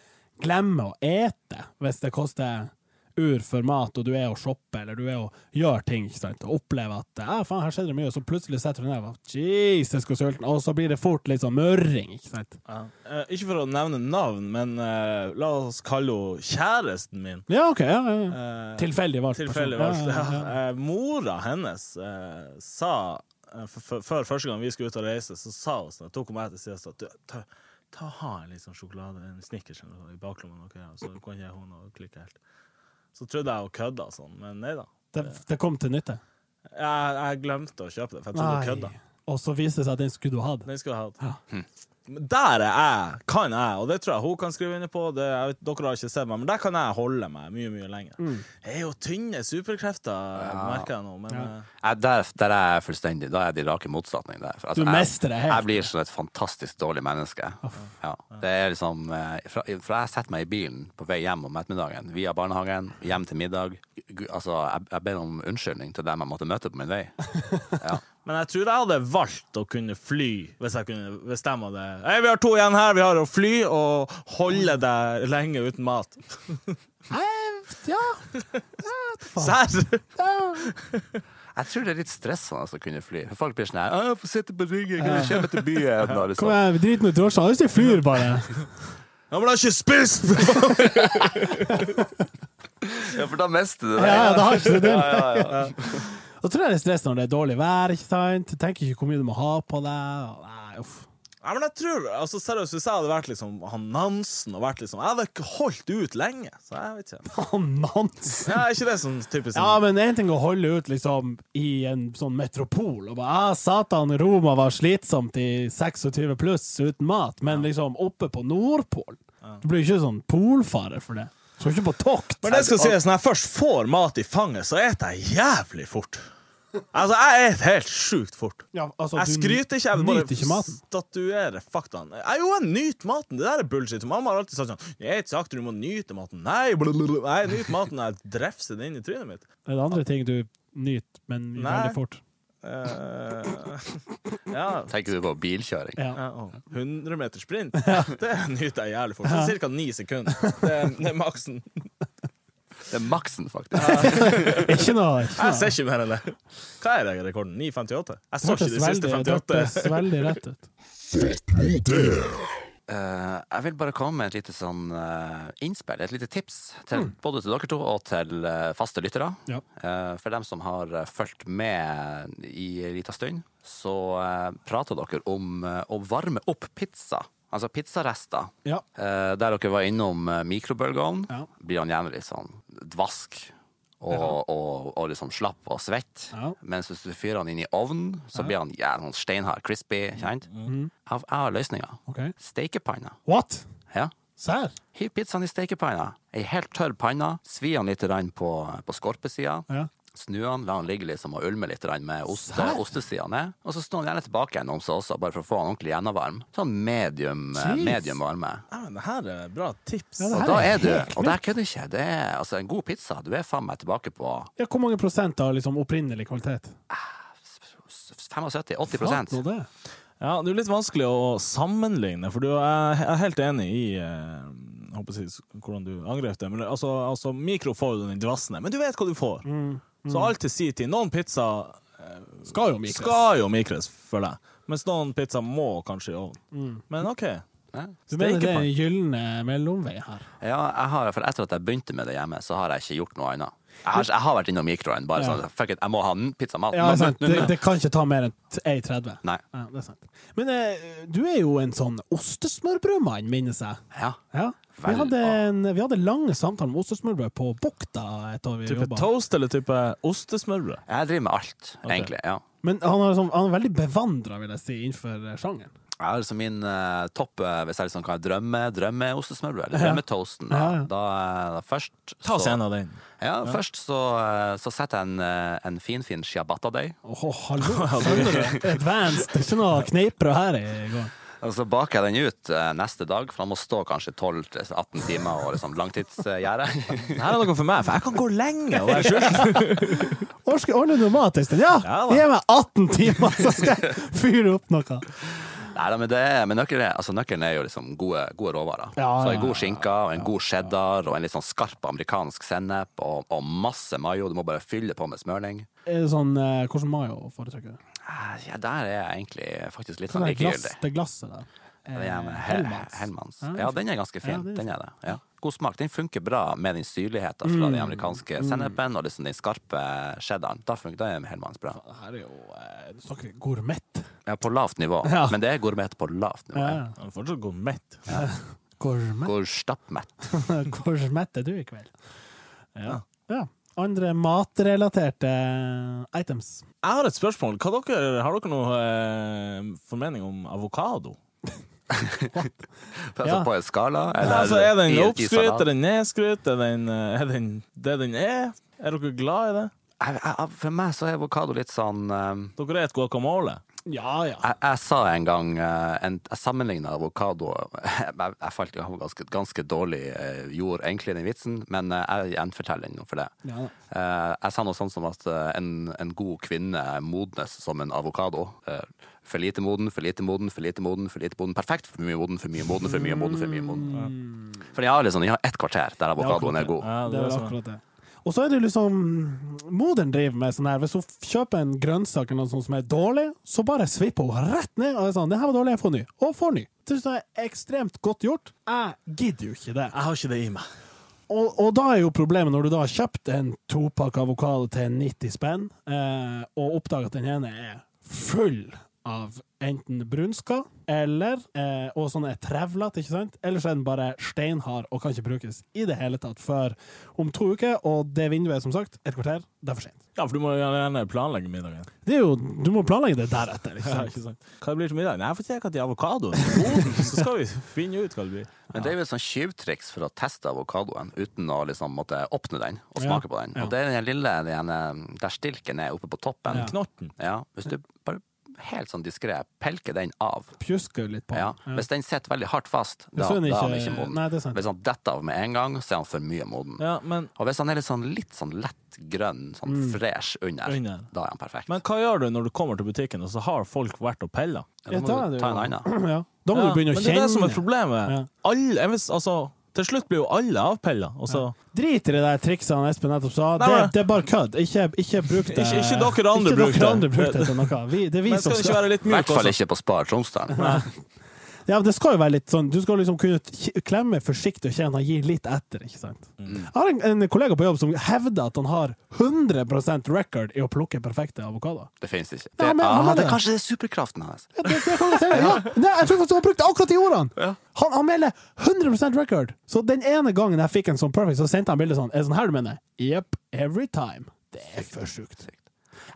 glemme å ete hvis det koster ur for mat, og du er og shopper, eller du er og gjør ting, ikke sant, og opplever at ja, faen, her skjedde det mye, og så plutselig setter du deg ned og bare, Jesus, hvor sulten, og så blir det fort litt sånn mørring, ikke sant.
Ja. Eh, ikke for å nevne navn, men eh, la oss kalle henne kjæresten min.
Ja, ok, ja, ja, ja.
Eh,
Tilfeldig valgt. person.
Tilfeldig valgt.
Ja, ja,
<laughs>
ja.
Ja. Eh, mora hennes eh, sa eh, f- f- Før første gang vi skulle ut og reise, så sa hun sånn, tok hun meg til side og sa «Du, ta, ta ha en litt sånn sjokolade, en Snickers eller noe i baklommen, ok, ja, så kan jeg hun og klikke helt. Så trodde jeg hun kødda og sånn, men nei da.
Det, det kom til nytte.
Jeg, jeg glemte å kjøpe det, for jeg trodde hun kødda.
Og så viste det seg at den skulle du hatt.
Den skulle jeg hatt. Men Der er jeg, kan jeg, og det tror jeg hun kan skrive under på. Det, jeg vet, dere har ikke sett meg, men der kan jeg holde meg mye mye lenger. Jeg er jo tynne superkrefter, merker jeg nå. Men eh,
Jeg, der, der er jeg fullstendig Da er de rake motsetning der. For, altså,
Du mestrer det helt.
Jeg, jeg blir sånn et fantastisk dårlig menneske. Ja. Det er liksom eh, fra, fra jeg setter meg i bilen på vei hjem om ettermiddagen, via barnehagen, hjem til middag Gu- Altså, jeg, jeg ber om unnskyldning til dem jeg måtte møte på min vei. Ja.
Men jeg tror jeg hadde valgt å kunne fly hvis jeg kunne bestemme det. Hei, vi har to igjen her, vi har å fly og holde deg lenge uten mat.
Ja,
Serr!
Jeg tror det er litt stressende å kunne fly. Folk blir sånn her «Å, 'Jeg får sitte på ryggen, kan jeg kjøpe til
<laughs>
byen?' Og
kom
liksom.
igjen, vi driter noe til årsaken, hvis de flyr
<laughs>
bare.
Ja, men jeg har ikke spist!
Ja, for da mister du det.
Ja, ja, det har ikke det.
Ja, ja, ja.
Da tror jeg det er stress når det er dårlig vær, ikke sant? Du tenker ikke hvor mye du må ha på deg. og Nei, uff.
Nei, men jeg tror, altså Seriøst, hvis jeg hadde vært liksom han Nansen og vært liksom Jeg hadde ikke holdt ut lenge. Så jeg vet ikke.
Nans!
Ja, er ikke det sånn typisk
Ja,
sånn,
men én ting å holde ut liksom i en sånn metropol og bare ah, Satan, Roma var slitsomt i 26 pluss uten mat, men liksom oppe på Nordpolen Du blir jo ikke sånn polfarer for det. Du skal ikke på tokt.
Men det skal sies, når jeg først får mat i fanget, så eter jeg jævlig fort. Altså, jeg eter helt sjukt fort.
Ja, altså,
Jeg
du
skryter ikke, jeg
nyter ikke
bare
maten.
statuerer faktaen. Jeg, jo, jeg nyter maten. Det der er bullshit. Mamma har alltid sagt sånn Jeg et sakte, du må nyte maten. Nei, blablabla. Nei, jeg nyter maten. Jeg drefser det inn i trynet mitt.
Er det andre ting du nyter, men
Nei.
veldig fort?
Eh, <laughs> ja.
Tenker du på bilkjøring?
Ja.
Ja, å, 100 meter sprint, det nyter jeg jævlig fort. Cirka ni sekunder. Det, er- det er maksen.
Det er maksen, faktisk.
<laughs> Ikke noe. Ikke
Jeg ser
noe.
ikke mer enn det. Hva er det rekorden? 9,58? Jeg så
Det
ikke de
hørtes
siste
veldig, det
58.
hørtes veldig rett ut.
Eh, jeg vil bare komme med et lite sånn eh, innspill, et lite tips, til, både til dere to og til eh, faste lyttere.
Mm. Ja.
Eh, for dem som har eh, fulgt med i en liten stund, så eh, prater dere om eh, å varme opp pizza. Altså pizzarester.
Ja.
Eh, der dere var innom eh, mikrobølgeovn,
Ja.
blir han gjerne litt sånn dvask. Og, og, og liksom slapp og svett.
Ja.
Mens hvis du fyrer han inn i ovnen, så blir han jævlig sånn steinhard, crispy. Kjent?
Mm.
Jeg har- jeg har løsninga.
OK.
Steikepanna.
What?
Ja.
Serr?
Hiv pizzaen i steikepanna. Ei helt tørr panne. Svi den litt grann på, på skorpesida.
Ja.
Snu den, la den ligge liksom og ulme litt grann med ost,
Serr?
ostesida ned. Og så snå den gjerne tilbake igjen om seg også, bare for å få den ordentlig gjennomvarm. Sånn medium, eh,
Jeez.
medium varme.
Ja, men det her er bra tips.
Ja, det
Og
her
da
er
er du
helt
Og der kødder ikke. Det er altså en god pizza. Du er faen meg tilbake på
Ja, hvor mange prosent av liksom opprinnelig kvalitet?
75-80
Fatt nå det.
Ja, det er jo litt vanskelig å sammenligne, for du er, jeg er helt enig i eh, jeg håper å si hvordan du angrep det. Men altså, altså mikro får jo den dvassende, men du vet hva du får.
Mm,
Så alt til si til. Noen pizza
Skal jo
skal jo mikres, føler jeg. Mens noen pizza må kanskje i ovnen. Men OK.
Mm. Du mener det er
Steikepann.
en gylne mellomvei her?
Ja, jeg har, for etter at jeg begynte med det hjemme, så har jeg ikke gjort noe annet. Jeg har, jeg har vært innom mikroen. Bare
Ja.
sånn Fuck it, jeg må ha en pizzamat.
Ja,
Nå-
sant.
nå-
Det,
nå-
det kan ikke ta mer enn t- ei 30.
Nei.
Ja, det er sant. Men eh, du er jo en sånn ostesmørbrødmann, minnes jeg.
Ja.
Ja. Vi
Vel,
hadde,
ja.
en, vi hadde lange samtaler om ostesmørbrød på Bukta et år vi
Type
jobba.
toast eller type ostesmørbrød?
Jeg driver med alt, egentlig. ja
Men han er, sånn, han er veldig bevandra, vil jeg si, innenfor eh, sjangeren.
Jeg har liksom min eh, topp eh, Hvis jeg liksom kan drømme drømmeostesmørbrød, eller drømmetoasten. Da,
Ja, ja.
da, eh, da først
Ta oss
så,
en av den.
ja, Først så, eh, så setter jeg en, eh, en finfin ciabattadeig,
Åh, <laughs> hallo! Skjønner du? Advanced. Det er ikke noe kneippbrød her i går.
og så baker jeg den ut eh, neste dag, for han må stå kanskje 12-18 timer og liksom langtidsgjerde.
<laughs>
Her er noe for meg, for jeg kan gå <laughs> lenge og være sulten.
Orske, ordner du mat en stund? Ja!
Ja da.
Gi meg 18 timer, så skal jeg fyre opp noe.
Nei, da, men, det, er- men nøkkelen, er, altså, nøkkelen er jo liksom gode, gode råvarer.
Ja,
så
ja,
en god
ja,
skinka, og en god cheddar, og en litt sånn skarp amerikansk sennep, og, og masse mayo. Du må bare fylle på med smørning.
Er det sånn, eh, Hvordan mayo foretrekker du?
Ah, Ja, der er jeg egentlig faktisk litt
Sånn
sånn
der glass,
likegyldig.
det glasset der.
Den er med
Eh,
Hel-
Hellmann's.
Hellmann's.
Ja,
Ja, den er
Ja,
ganske fin.
den er
Den er det. Ja. God smak. Den funker bra med den syrligheten fra
Mm,
den amerikanske sennepen og liksom den skarpe cheddaren. Da funker den Hellmann's bra.
Det her er jo eh, Du snakker gourmet.
Ja, på lavt nivå.
Ja.
Men det er gourmet på lavt nivå. Ja.
Jeg er fortsatt god mett.
Gourmet.
Går stappmett.
<laughs> gourmet er du i kveld.
Ja.
Ja. Andre matrelaterte eh, items.
Jeg har et spørsmål. Hva dere, har dere noe eh, formening om avokado?
Altså
Ja.
på en skala, eller
Altså, er den
i- i
oppskrytt?
salat.
Er den nedskrytt? Er den, eh, er den det den er? Er dere glad i det?
jeg, jeg, for meg så er avokado litt sånn eh,
Dere er et guacamole.
Ja, ja.
jeg, jeg sa en gang eh, en, Jeg sammenligna avokado <laughs> jeg, jeg falt i ganske, ganske dårlig eh, jord, egentlig, den vitsen, men eh, jeg gjenforteller den for det.
Ja.
Eh, jeg sa noe sånn som at eh, en, en god kvinne modnes som en avokado. Eh, for lite moden, for lite moden, for lite moden, for lite moden. Perfekt, for mye moden, for mye moden, for mye moden. For mye moden. For de har liksom, de har ett kvarter der
Mm.
avokadoen
Ja,
er god.
Ja,
Det
det
er
er
vel
sånn.
akkurat det. Og så er det liksom Moderen driver med sånn her. Hvis hun kjøper en grønnsak eller noe sånt som er dårlig, så bare svipper hun rett ned og er sånn 'Det her var dårlig, jeg får ny.' Og får ny. Det synes jeg er ekstremt godt gjort. Jeg gidder jo ikke det.
Jeg har ikke det i meg.
Og, og da er jo problemet når du da har kjøpt en topakk avokado til 90 spenn, eh, og oppdager at den ene er full av enten brunska eller eh, Og sånn er trevlete, ikke sant? Eller så er den bare steinhard og kan ikke brukes i det hele tatt før om to uker. Og det vinduet er som sagt et kvarter. Det er for sent.
Ja, for du må jo gjerne planlegge middagen.
Det er jo, du må planlegge det deretter. Ikke sant?
Hva det blir til middag? Nei, jeg får se hva til avokadoen er. Boden, Så skal vi finne ut hva det blir.
Men det er jo et sånt tjuvtriks for å teste avokadoen uten å liksom måtte åpne den og
Ja,
smake på den.
ja.
Og det er den lille den, eh, der stilken er oppe på toppen.
Ja.
Knotten.
Ja, hvis du bare helt sånn diskré pelker den av.
Pjusker jo litt på.
Ja.
Ja.
Hvis den sitter veldig hardt fast, da,
Så er den
da er
ikke-
den ikke moden.
Nei, det er sant.
Hvis han detter av med en gang, så er han for mye moden.
Ja, men,
Og hvis han er litt sånn, litt sånn lett grønn, sånn
Mm.
fresh under,
Under.
da er han perfekt.
men hva gjør du når du kommer til butikken, og så har folk vært og pella?
Ja, da
Ja, da
må
er det jo-
du ta en annen.
Ja. Da må
Ja,
du begynne å
men det er det som er
kjenne.
problemet.
Ja.
Alle, jeg vet, altså, til slutt blir jo alle avpella. Og så,
Drit i det der trikset han Espen nettopp sa.
Nei,
det,
men-
det er bare kødd. Ikke, ikke bruk det.
Ikke- ikke dere andre
Ikke
bruk det.
dere andre bruk det til noe. Vi, det er vi
men skal
som
det ikke
skal
være litt
I
myk
hvert fall
også?
ikke på Spar Tromsdalen.
Ja, men det skal jo være litt sånn Du skal liksom kunne k- klemme forsiktig og kjenne han gir litt etter, ikke sant? Jeg har en, en kollega på jobb som hevder at han har 100 record i å plukke perfekte avokadoer.
Det finnes ikke. Det,
Ja, men han
ah, det
hadde-
er kanskje det er superkraften hans.
Ja, det, det kan godt hende, ja. Nei, jeg tror faktisk han brukte akkurat de ordene! Han, han melder 100 record! Så den ene gangen jeg fikk en sånn perfect, så sendte han bilde sånn. Er det sånn her du mener? Jepp. Every time. Det er for sjukt.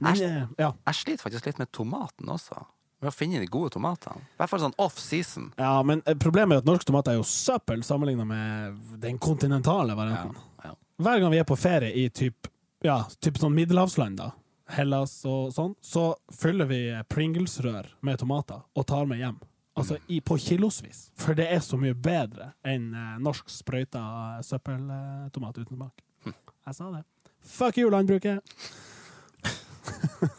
Men, eh, Ja.
Jeg sliter faktisk litt med tomaten også. Med å finne de gode tomatene. I hvert fall sånn off season.
ja, men eh, problemet er at norsk tomat er jo søppel sammenligna med den kontinentale
Ja,
varianten.
ja.
hver gang vi er på ferie i typ, ja, typ sånn middelhavsland, da, Hellas og sånn, så fyller vi Pringles-rør med tomater og tar med hjem.
Mm.
Altså i, på kilosvis. For det er så mye bedre enn eh, norsk sprøyta eh, søppeltomat uten smak.
Hm.
Jeg sa det. Fuck you, landbruket! <laughs>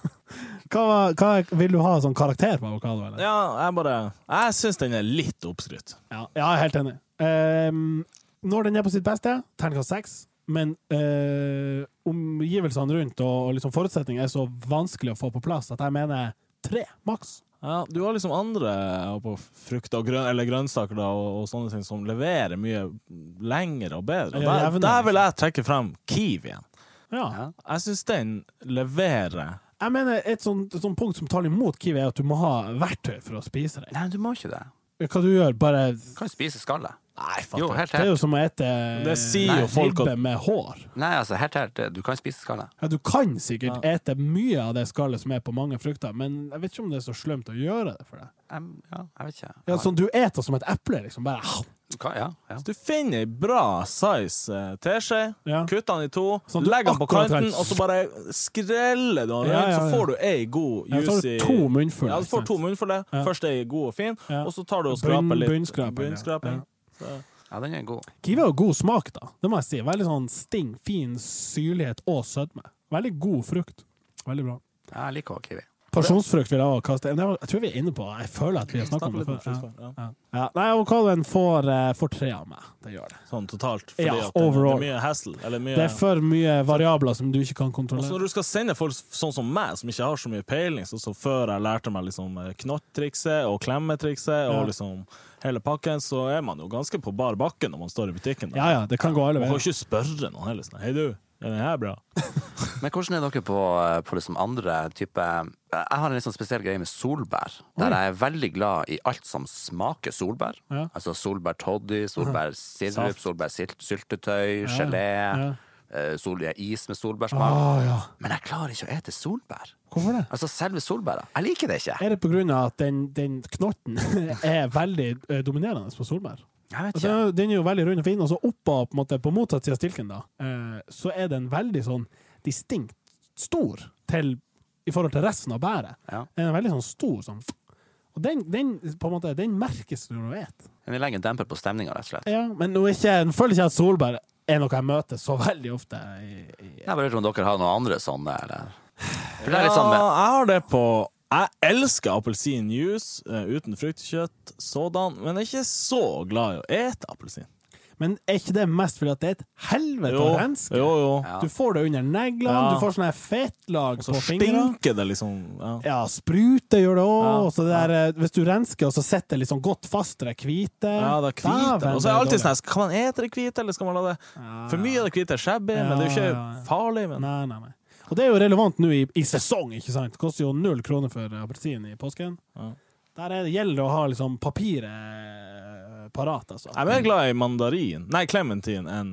hva, var- hva er- vil du ha sånn karakter på avokado, eller?
Ja, jeg bare Jeg syns den er litt oppskrytt.
Ja, ja jeg er helt enig. Ehm, når den er på sitt beste, terningkast seks. Men eh, omgivelsene rundt og, og liksom forutsetninger er så vanskelig å få på plass at jeg mener tre, maks.
Ja, du har liksom andre ja, på frukt og grøn, eller grønnsaker da, og, og sånne ting som leverer mye lengre og bedre. Og
Ja,
der,
jevnere,
der vil jeg trekke frem Kiwien.
Ja.
Jeg syns den leverer
Jeg mener Et sånt, et sånt punkt som taler imot kiwi, er at du må ha verktøy for å spise det.
Nei, du må ikke det.
Hva du gjør, bare
Du kan jo spise skallet.
Nei,
Jo,
fatter.
helt
Det er
helt.
jo som å ete
Det sier
nei,
jo folk at-
ribbe med hår.
Nei, altså, helt helt. Du kan spise skallet.
Ja, du kan sikkert ete mye av det skallet som er på mange frukter, men jeg vet ikke om det er så slemt å gjøre det for deg.
Em, ja, jeg vet ikke.
Ja, sånn Du eter som et eple, liksom. Bare
Du kan, ja, ja.
Du finner ei bra size eh, teskje,
Ja.
kutter den i to,
Sånn du
legger den på
akkurat
kanten,
trenger.
og så bare skreller du den rundt,
Ja, ja, ja.
så får du ei god,
Ja, så har du
juicy
to munnfulle,
Ja, du får
ikke sant?
to munnfulle.
Ja.
Først ei god og fin,
Ja.
og så tar du og
Bunn-
skraper litt.
bunnskraping, ja.
Bunnskraping.
Ja.
Så-
ja, den er god.
Kiwi har god smak, da. Det må jeg si. Veldig sånn sting, fin syrlighet og sødme. Veldig god frukt. Veldig bra.
Ja, jeg liker også kiwi.
Pasjonsfrukt vil jeg også kaste. Men jeg- Jeg tror vi er inne på Jeg føler at vi har snakket om det
Snakker litt om
før.
frukt,
Ja.
ja.
Ja. Ja. Nei, avokadoen får, eh, får tre av meg. Det gjør det.
Sånn totalt. Fordi
Ja,
at det, det
overall.
er mye hassle. Eller mye,
Det er for mye variabler som du ikke kan
Også
kontrollere.
når du skal sende folk sånn som meg, som ikke har så mye peiling, sånn som før jeg lærte meg liksom eh, knott-trikset og klemmetrikset og
Ja.
liksom hele pakken, så er man jo ganske på bar bakke når man står i butikken. da.
Ja ja, det kan gå alle
Man kan
veier.
jo ikke spørre noen heller. Sånn, Hei, du, er den her bra?
Men hvordan er dere på, på liksom andre type Jeg har en litt sånn spesiell greie med solbær. Der jeg er veldig glad i alt som smaker solbær.
Ja.
Altså solbærtoddy, solbærsirup,
Saft.
solbærsyltetøy, gelé.
ja.
eh, Sol, is med solbærsmak.
Å Ah, ja.
Men jeg klarer ikke å ete solbær.
Hvorfor det?
Altså selve solbæra. Jeg liker det ikke.
Er det på grunn av at den, den knotten <laughs> er veldig eh, dominerende på solbær?
Jeg vet
Altså, den er
ikke.
jo- den er jo veldig rund og fin, og så oppå på, en måte, på motsatt side av stilken, da, eh, så er den veldig sånn distinkt stor til, i forhold til resten av bæret.
Ja.
Den er veldig sånn stor sånn og den, den, på en måte, den merkes når du et.
Vi legger en demper på stemninga, rett og slett.
Ja, men nå er ikke, jeg føler ikke at solbær er noe jeg møter så veldig ofte. I, i.
Jeg bare lurer på om dere har noen andre sånne, eller? For det
Ja,
er litt sånn med
jeg har det på Jeg elsker appelsinjuice eh, uten fruktkjøtt, sådan, men jeg er ikke så glad i å ete appelsin.
Men er ikke det mest fordi at det er et helvete
Jo,
å renske?
jo, jo.
Ja.
Du får det under neglene,
Ja.
du får sånne fettlag
Så
på fingrene.
stinker det liksom. Ja.
Ja, sprute gjør det òg.
Ja,
og så det der, eh, Hvis du rensker, og så sitter det liksom godt fast, det er hvite.
Ja, det er hvite.
Dæven,
Og så er jeg
det
alltid
dårlig. Ah.
sånn her, Kan man ete det hvite, eller skal man la det For mye av det hvite er shabby, men det er jo
Ja,
ikke
ja, ja.
farlig. Men
Nei, nei, nei. Og det er jo relevant nå i, i sesong, ikke sant? Det koster jo null kroner for appelsin i påsken.
Ja.
Der er det, gjelder det å ha liksom papiret parat, altså.
Jeg er mer glad i mandarin, nei, clementin enn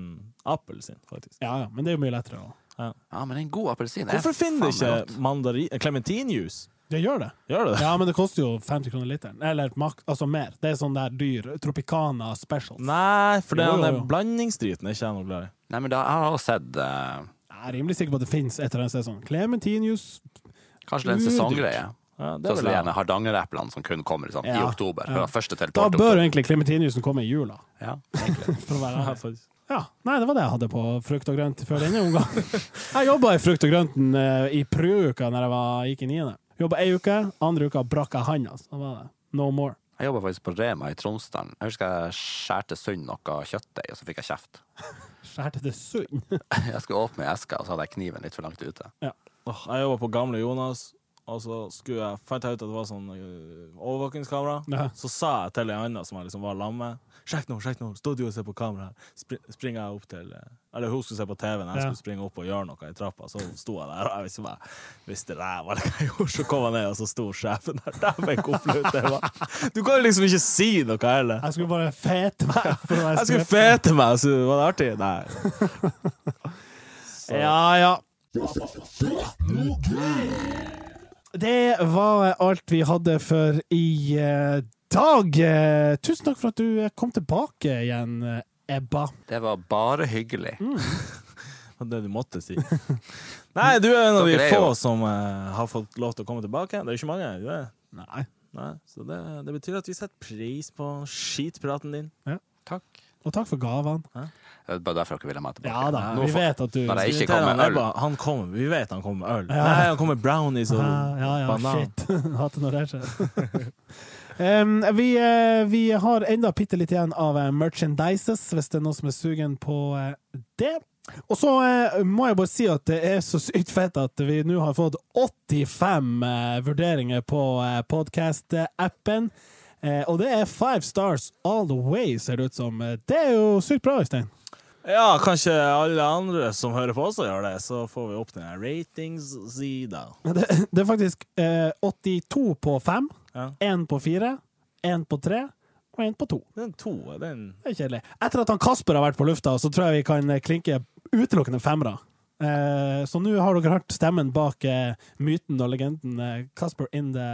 appelsin, faktisk.
Ja, ja, men det er jo mye lettere å
Ja, men en god appelsin er
Hvorfor finner du
faen meg godt.
ikke mandarin eh, Clementinjuice?
Det gjør det.
Gjør du det?
Ja, men det koster jo 50 kroner literen. Eller mak altså mer. Det er sånn der dyr Tropicana specials.
Nei, for det
Jo, jo,
den der
jo.
blandingsdriten er ikke jeg noe glad i.
Nei, men da, Jeg har også sett eh,
Jeg er rimelig sikker på at det fins et eller annet sted sånn Clementinius
kanskje det er en
Udyrt.
ssenonggreie.
Ja, det
Sånn som
vil
de
jeg.
gjerne hardangereplene som kun kommer liksom, i
Ja.
oktober.
Ja.
Ja. Første
Da
til tolvte
bør
oktober.
jo egentlig Clementiniusen komme i jula.
Ja.
For <laughs> å være
Ja,
ærlig.
faktisk.
Ja, Nei, det var det jeg hadde på frukt og grønt før denne omgang. <laughs> Jeg jobba i frukt og grønten eh, i prøveuka da jeg var, gikk i niende. Jobba ei uke, andre uka brakk jeg handa. Så var det no more.
Jeg jobba faktisk på Rema i Tromsdalen. Jeg husker jeg skjærte sund noe kjøttdeig, og så fikk jeg kjeft. <laughs>
Skjærte det sund.
Jeg skulle åpne ei eske, og så hadde jeg kniven litt for langt ute.
Åh, Jeg jobba på Gamle Jonas, og så skulle jeg, fant jeg ut at det var sånn øh, overvåkingskamera.
<laughs> Ja.
Så sa jeg til ei anna som jeg liksom var sammen med, sjekk nå, sjekk nå, stå du og se på kamera. her?» Spri- Springer jeg opp til øh, Eller hun skulle se på TV-en, jeg
Ja.
skulle springe opp og gjøre noe i trappa. Så sto jeg der, og jeg visste bare, visste ræva hva jeg gjorde. Så kom jeg ned, og så sto sjefen der. Dæven, hvor flaut det var. Du kan jo liksom ikke si noe heller.
Jeg skulle bare fete meg. For å være
Jeg skulle
skrep.
fete meg, så var det artig? Nei. Så-
Ja, ja. Det var alt vi hadde for i eh, dag. Eh, Tusen takk for at du eh, kom tilbake igjen, eh, Ebba.
Det var bare hyggelig.
Det var det du måtte si. <laughs> Nei, du er en av de
Dere er
få
jo-
som eh, har fått lov til å komme tilbake. Det er jo ikke mange. Du er.
Nei.
Nei, så det, det betyr at vi setter pris på skitpraten din.
Takk.
Og takk for gavene.
Det er bare derfor dere ville ha meg tilbake.
Ja da,
Nå
vi
får-
vet at du
Bare
ja,
ikke
Irriterer
kom med
meg,
øl.
Ebba. Han kommer, vi vet han kommer med øl.
Ja.
Nei, han kommer med brownies og
ja, ja,
banan.
shit. <laughs> Hatt det når det skjer. <laughs> um, vi, eh, vi har enda bitte litt igjen av eh, merchandises, hvis det er noen som er sugen på eh, det. Og så eh, må jeg bare si at det er så sykt fett at vi nå har fått 85 eh, vurderinger på eh, podcast-appen. Eh, og det er five stars all the way, ser det ut som. Eh, Det er jo sykt bra, Øystein. <laughs>
Ja, kanskje alle andre som hører på også gjør det. Så får vi opp den her ratings-sida.
Det, det er faktisk eh, 82 på 5,
Ja.
1 på 4, 1 på 3 og 1 på 2.
Den to, den
Det er kjedelig. Etter at han Kasper har vært på lufta, så tror jeg vi kan eh, klinke utelukkende femmere. Eh, så nå har dere hørt stemmen bak eh, myten og legenden eh, Kasper in the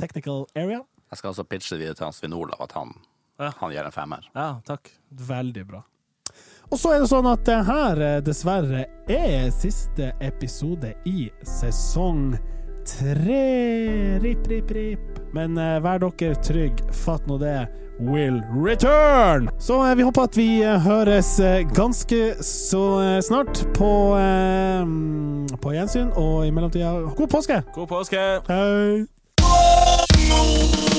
technical area.
Jeg skal altså pitche det videre til han Svein Olav at han,
Ja.
han gir en femmer.
Ja, takk.
Veldig bra. Og så er det sånn at det her eh, dessverre er siste episode i sesong tre. Rip, rip, rip. Men eh, vær dere trygg, fatt nå det. Will return! Så eh, vi håper at vi eh, høres eh, ganske så eh, snart på, eh, mm, på gjensyn, og i mellomtida god påske!
God påske!
Hei!
Move.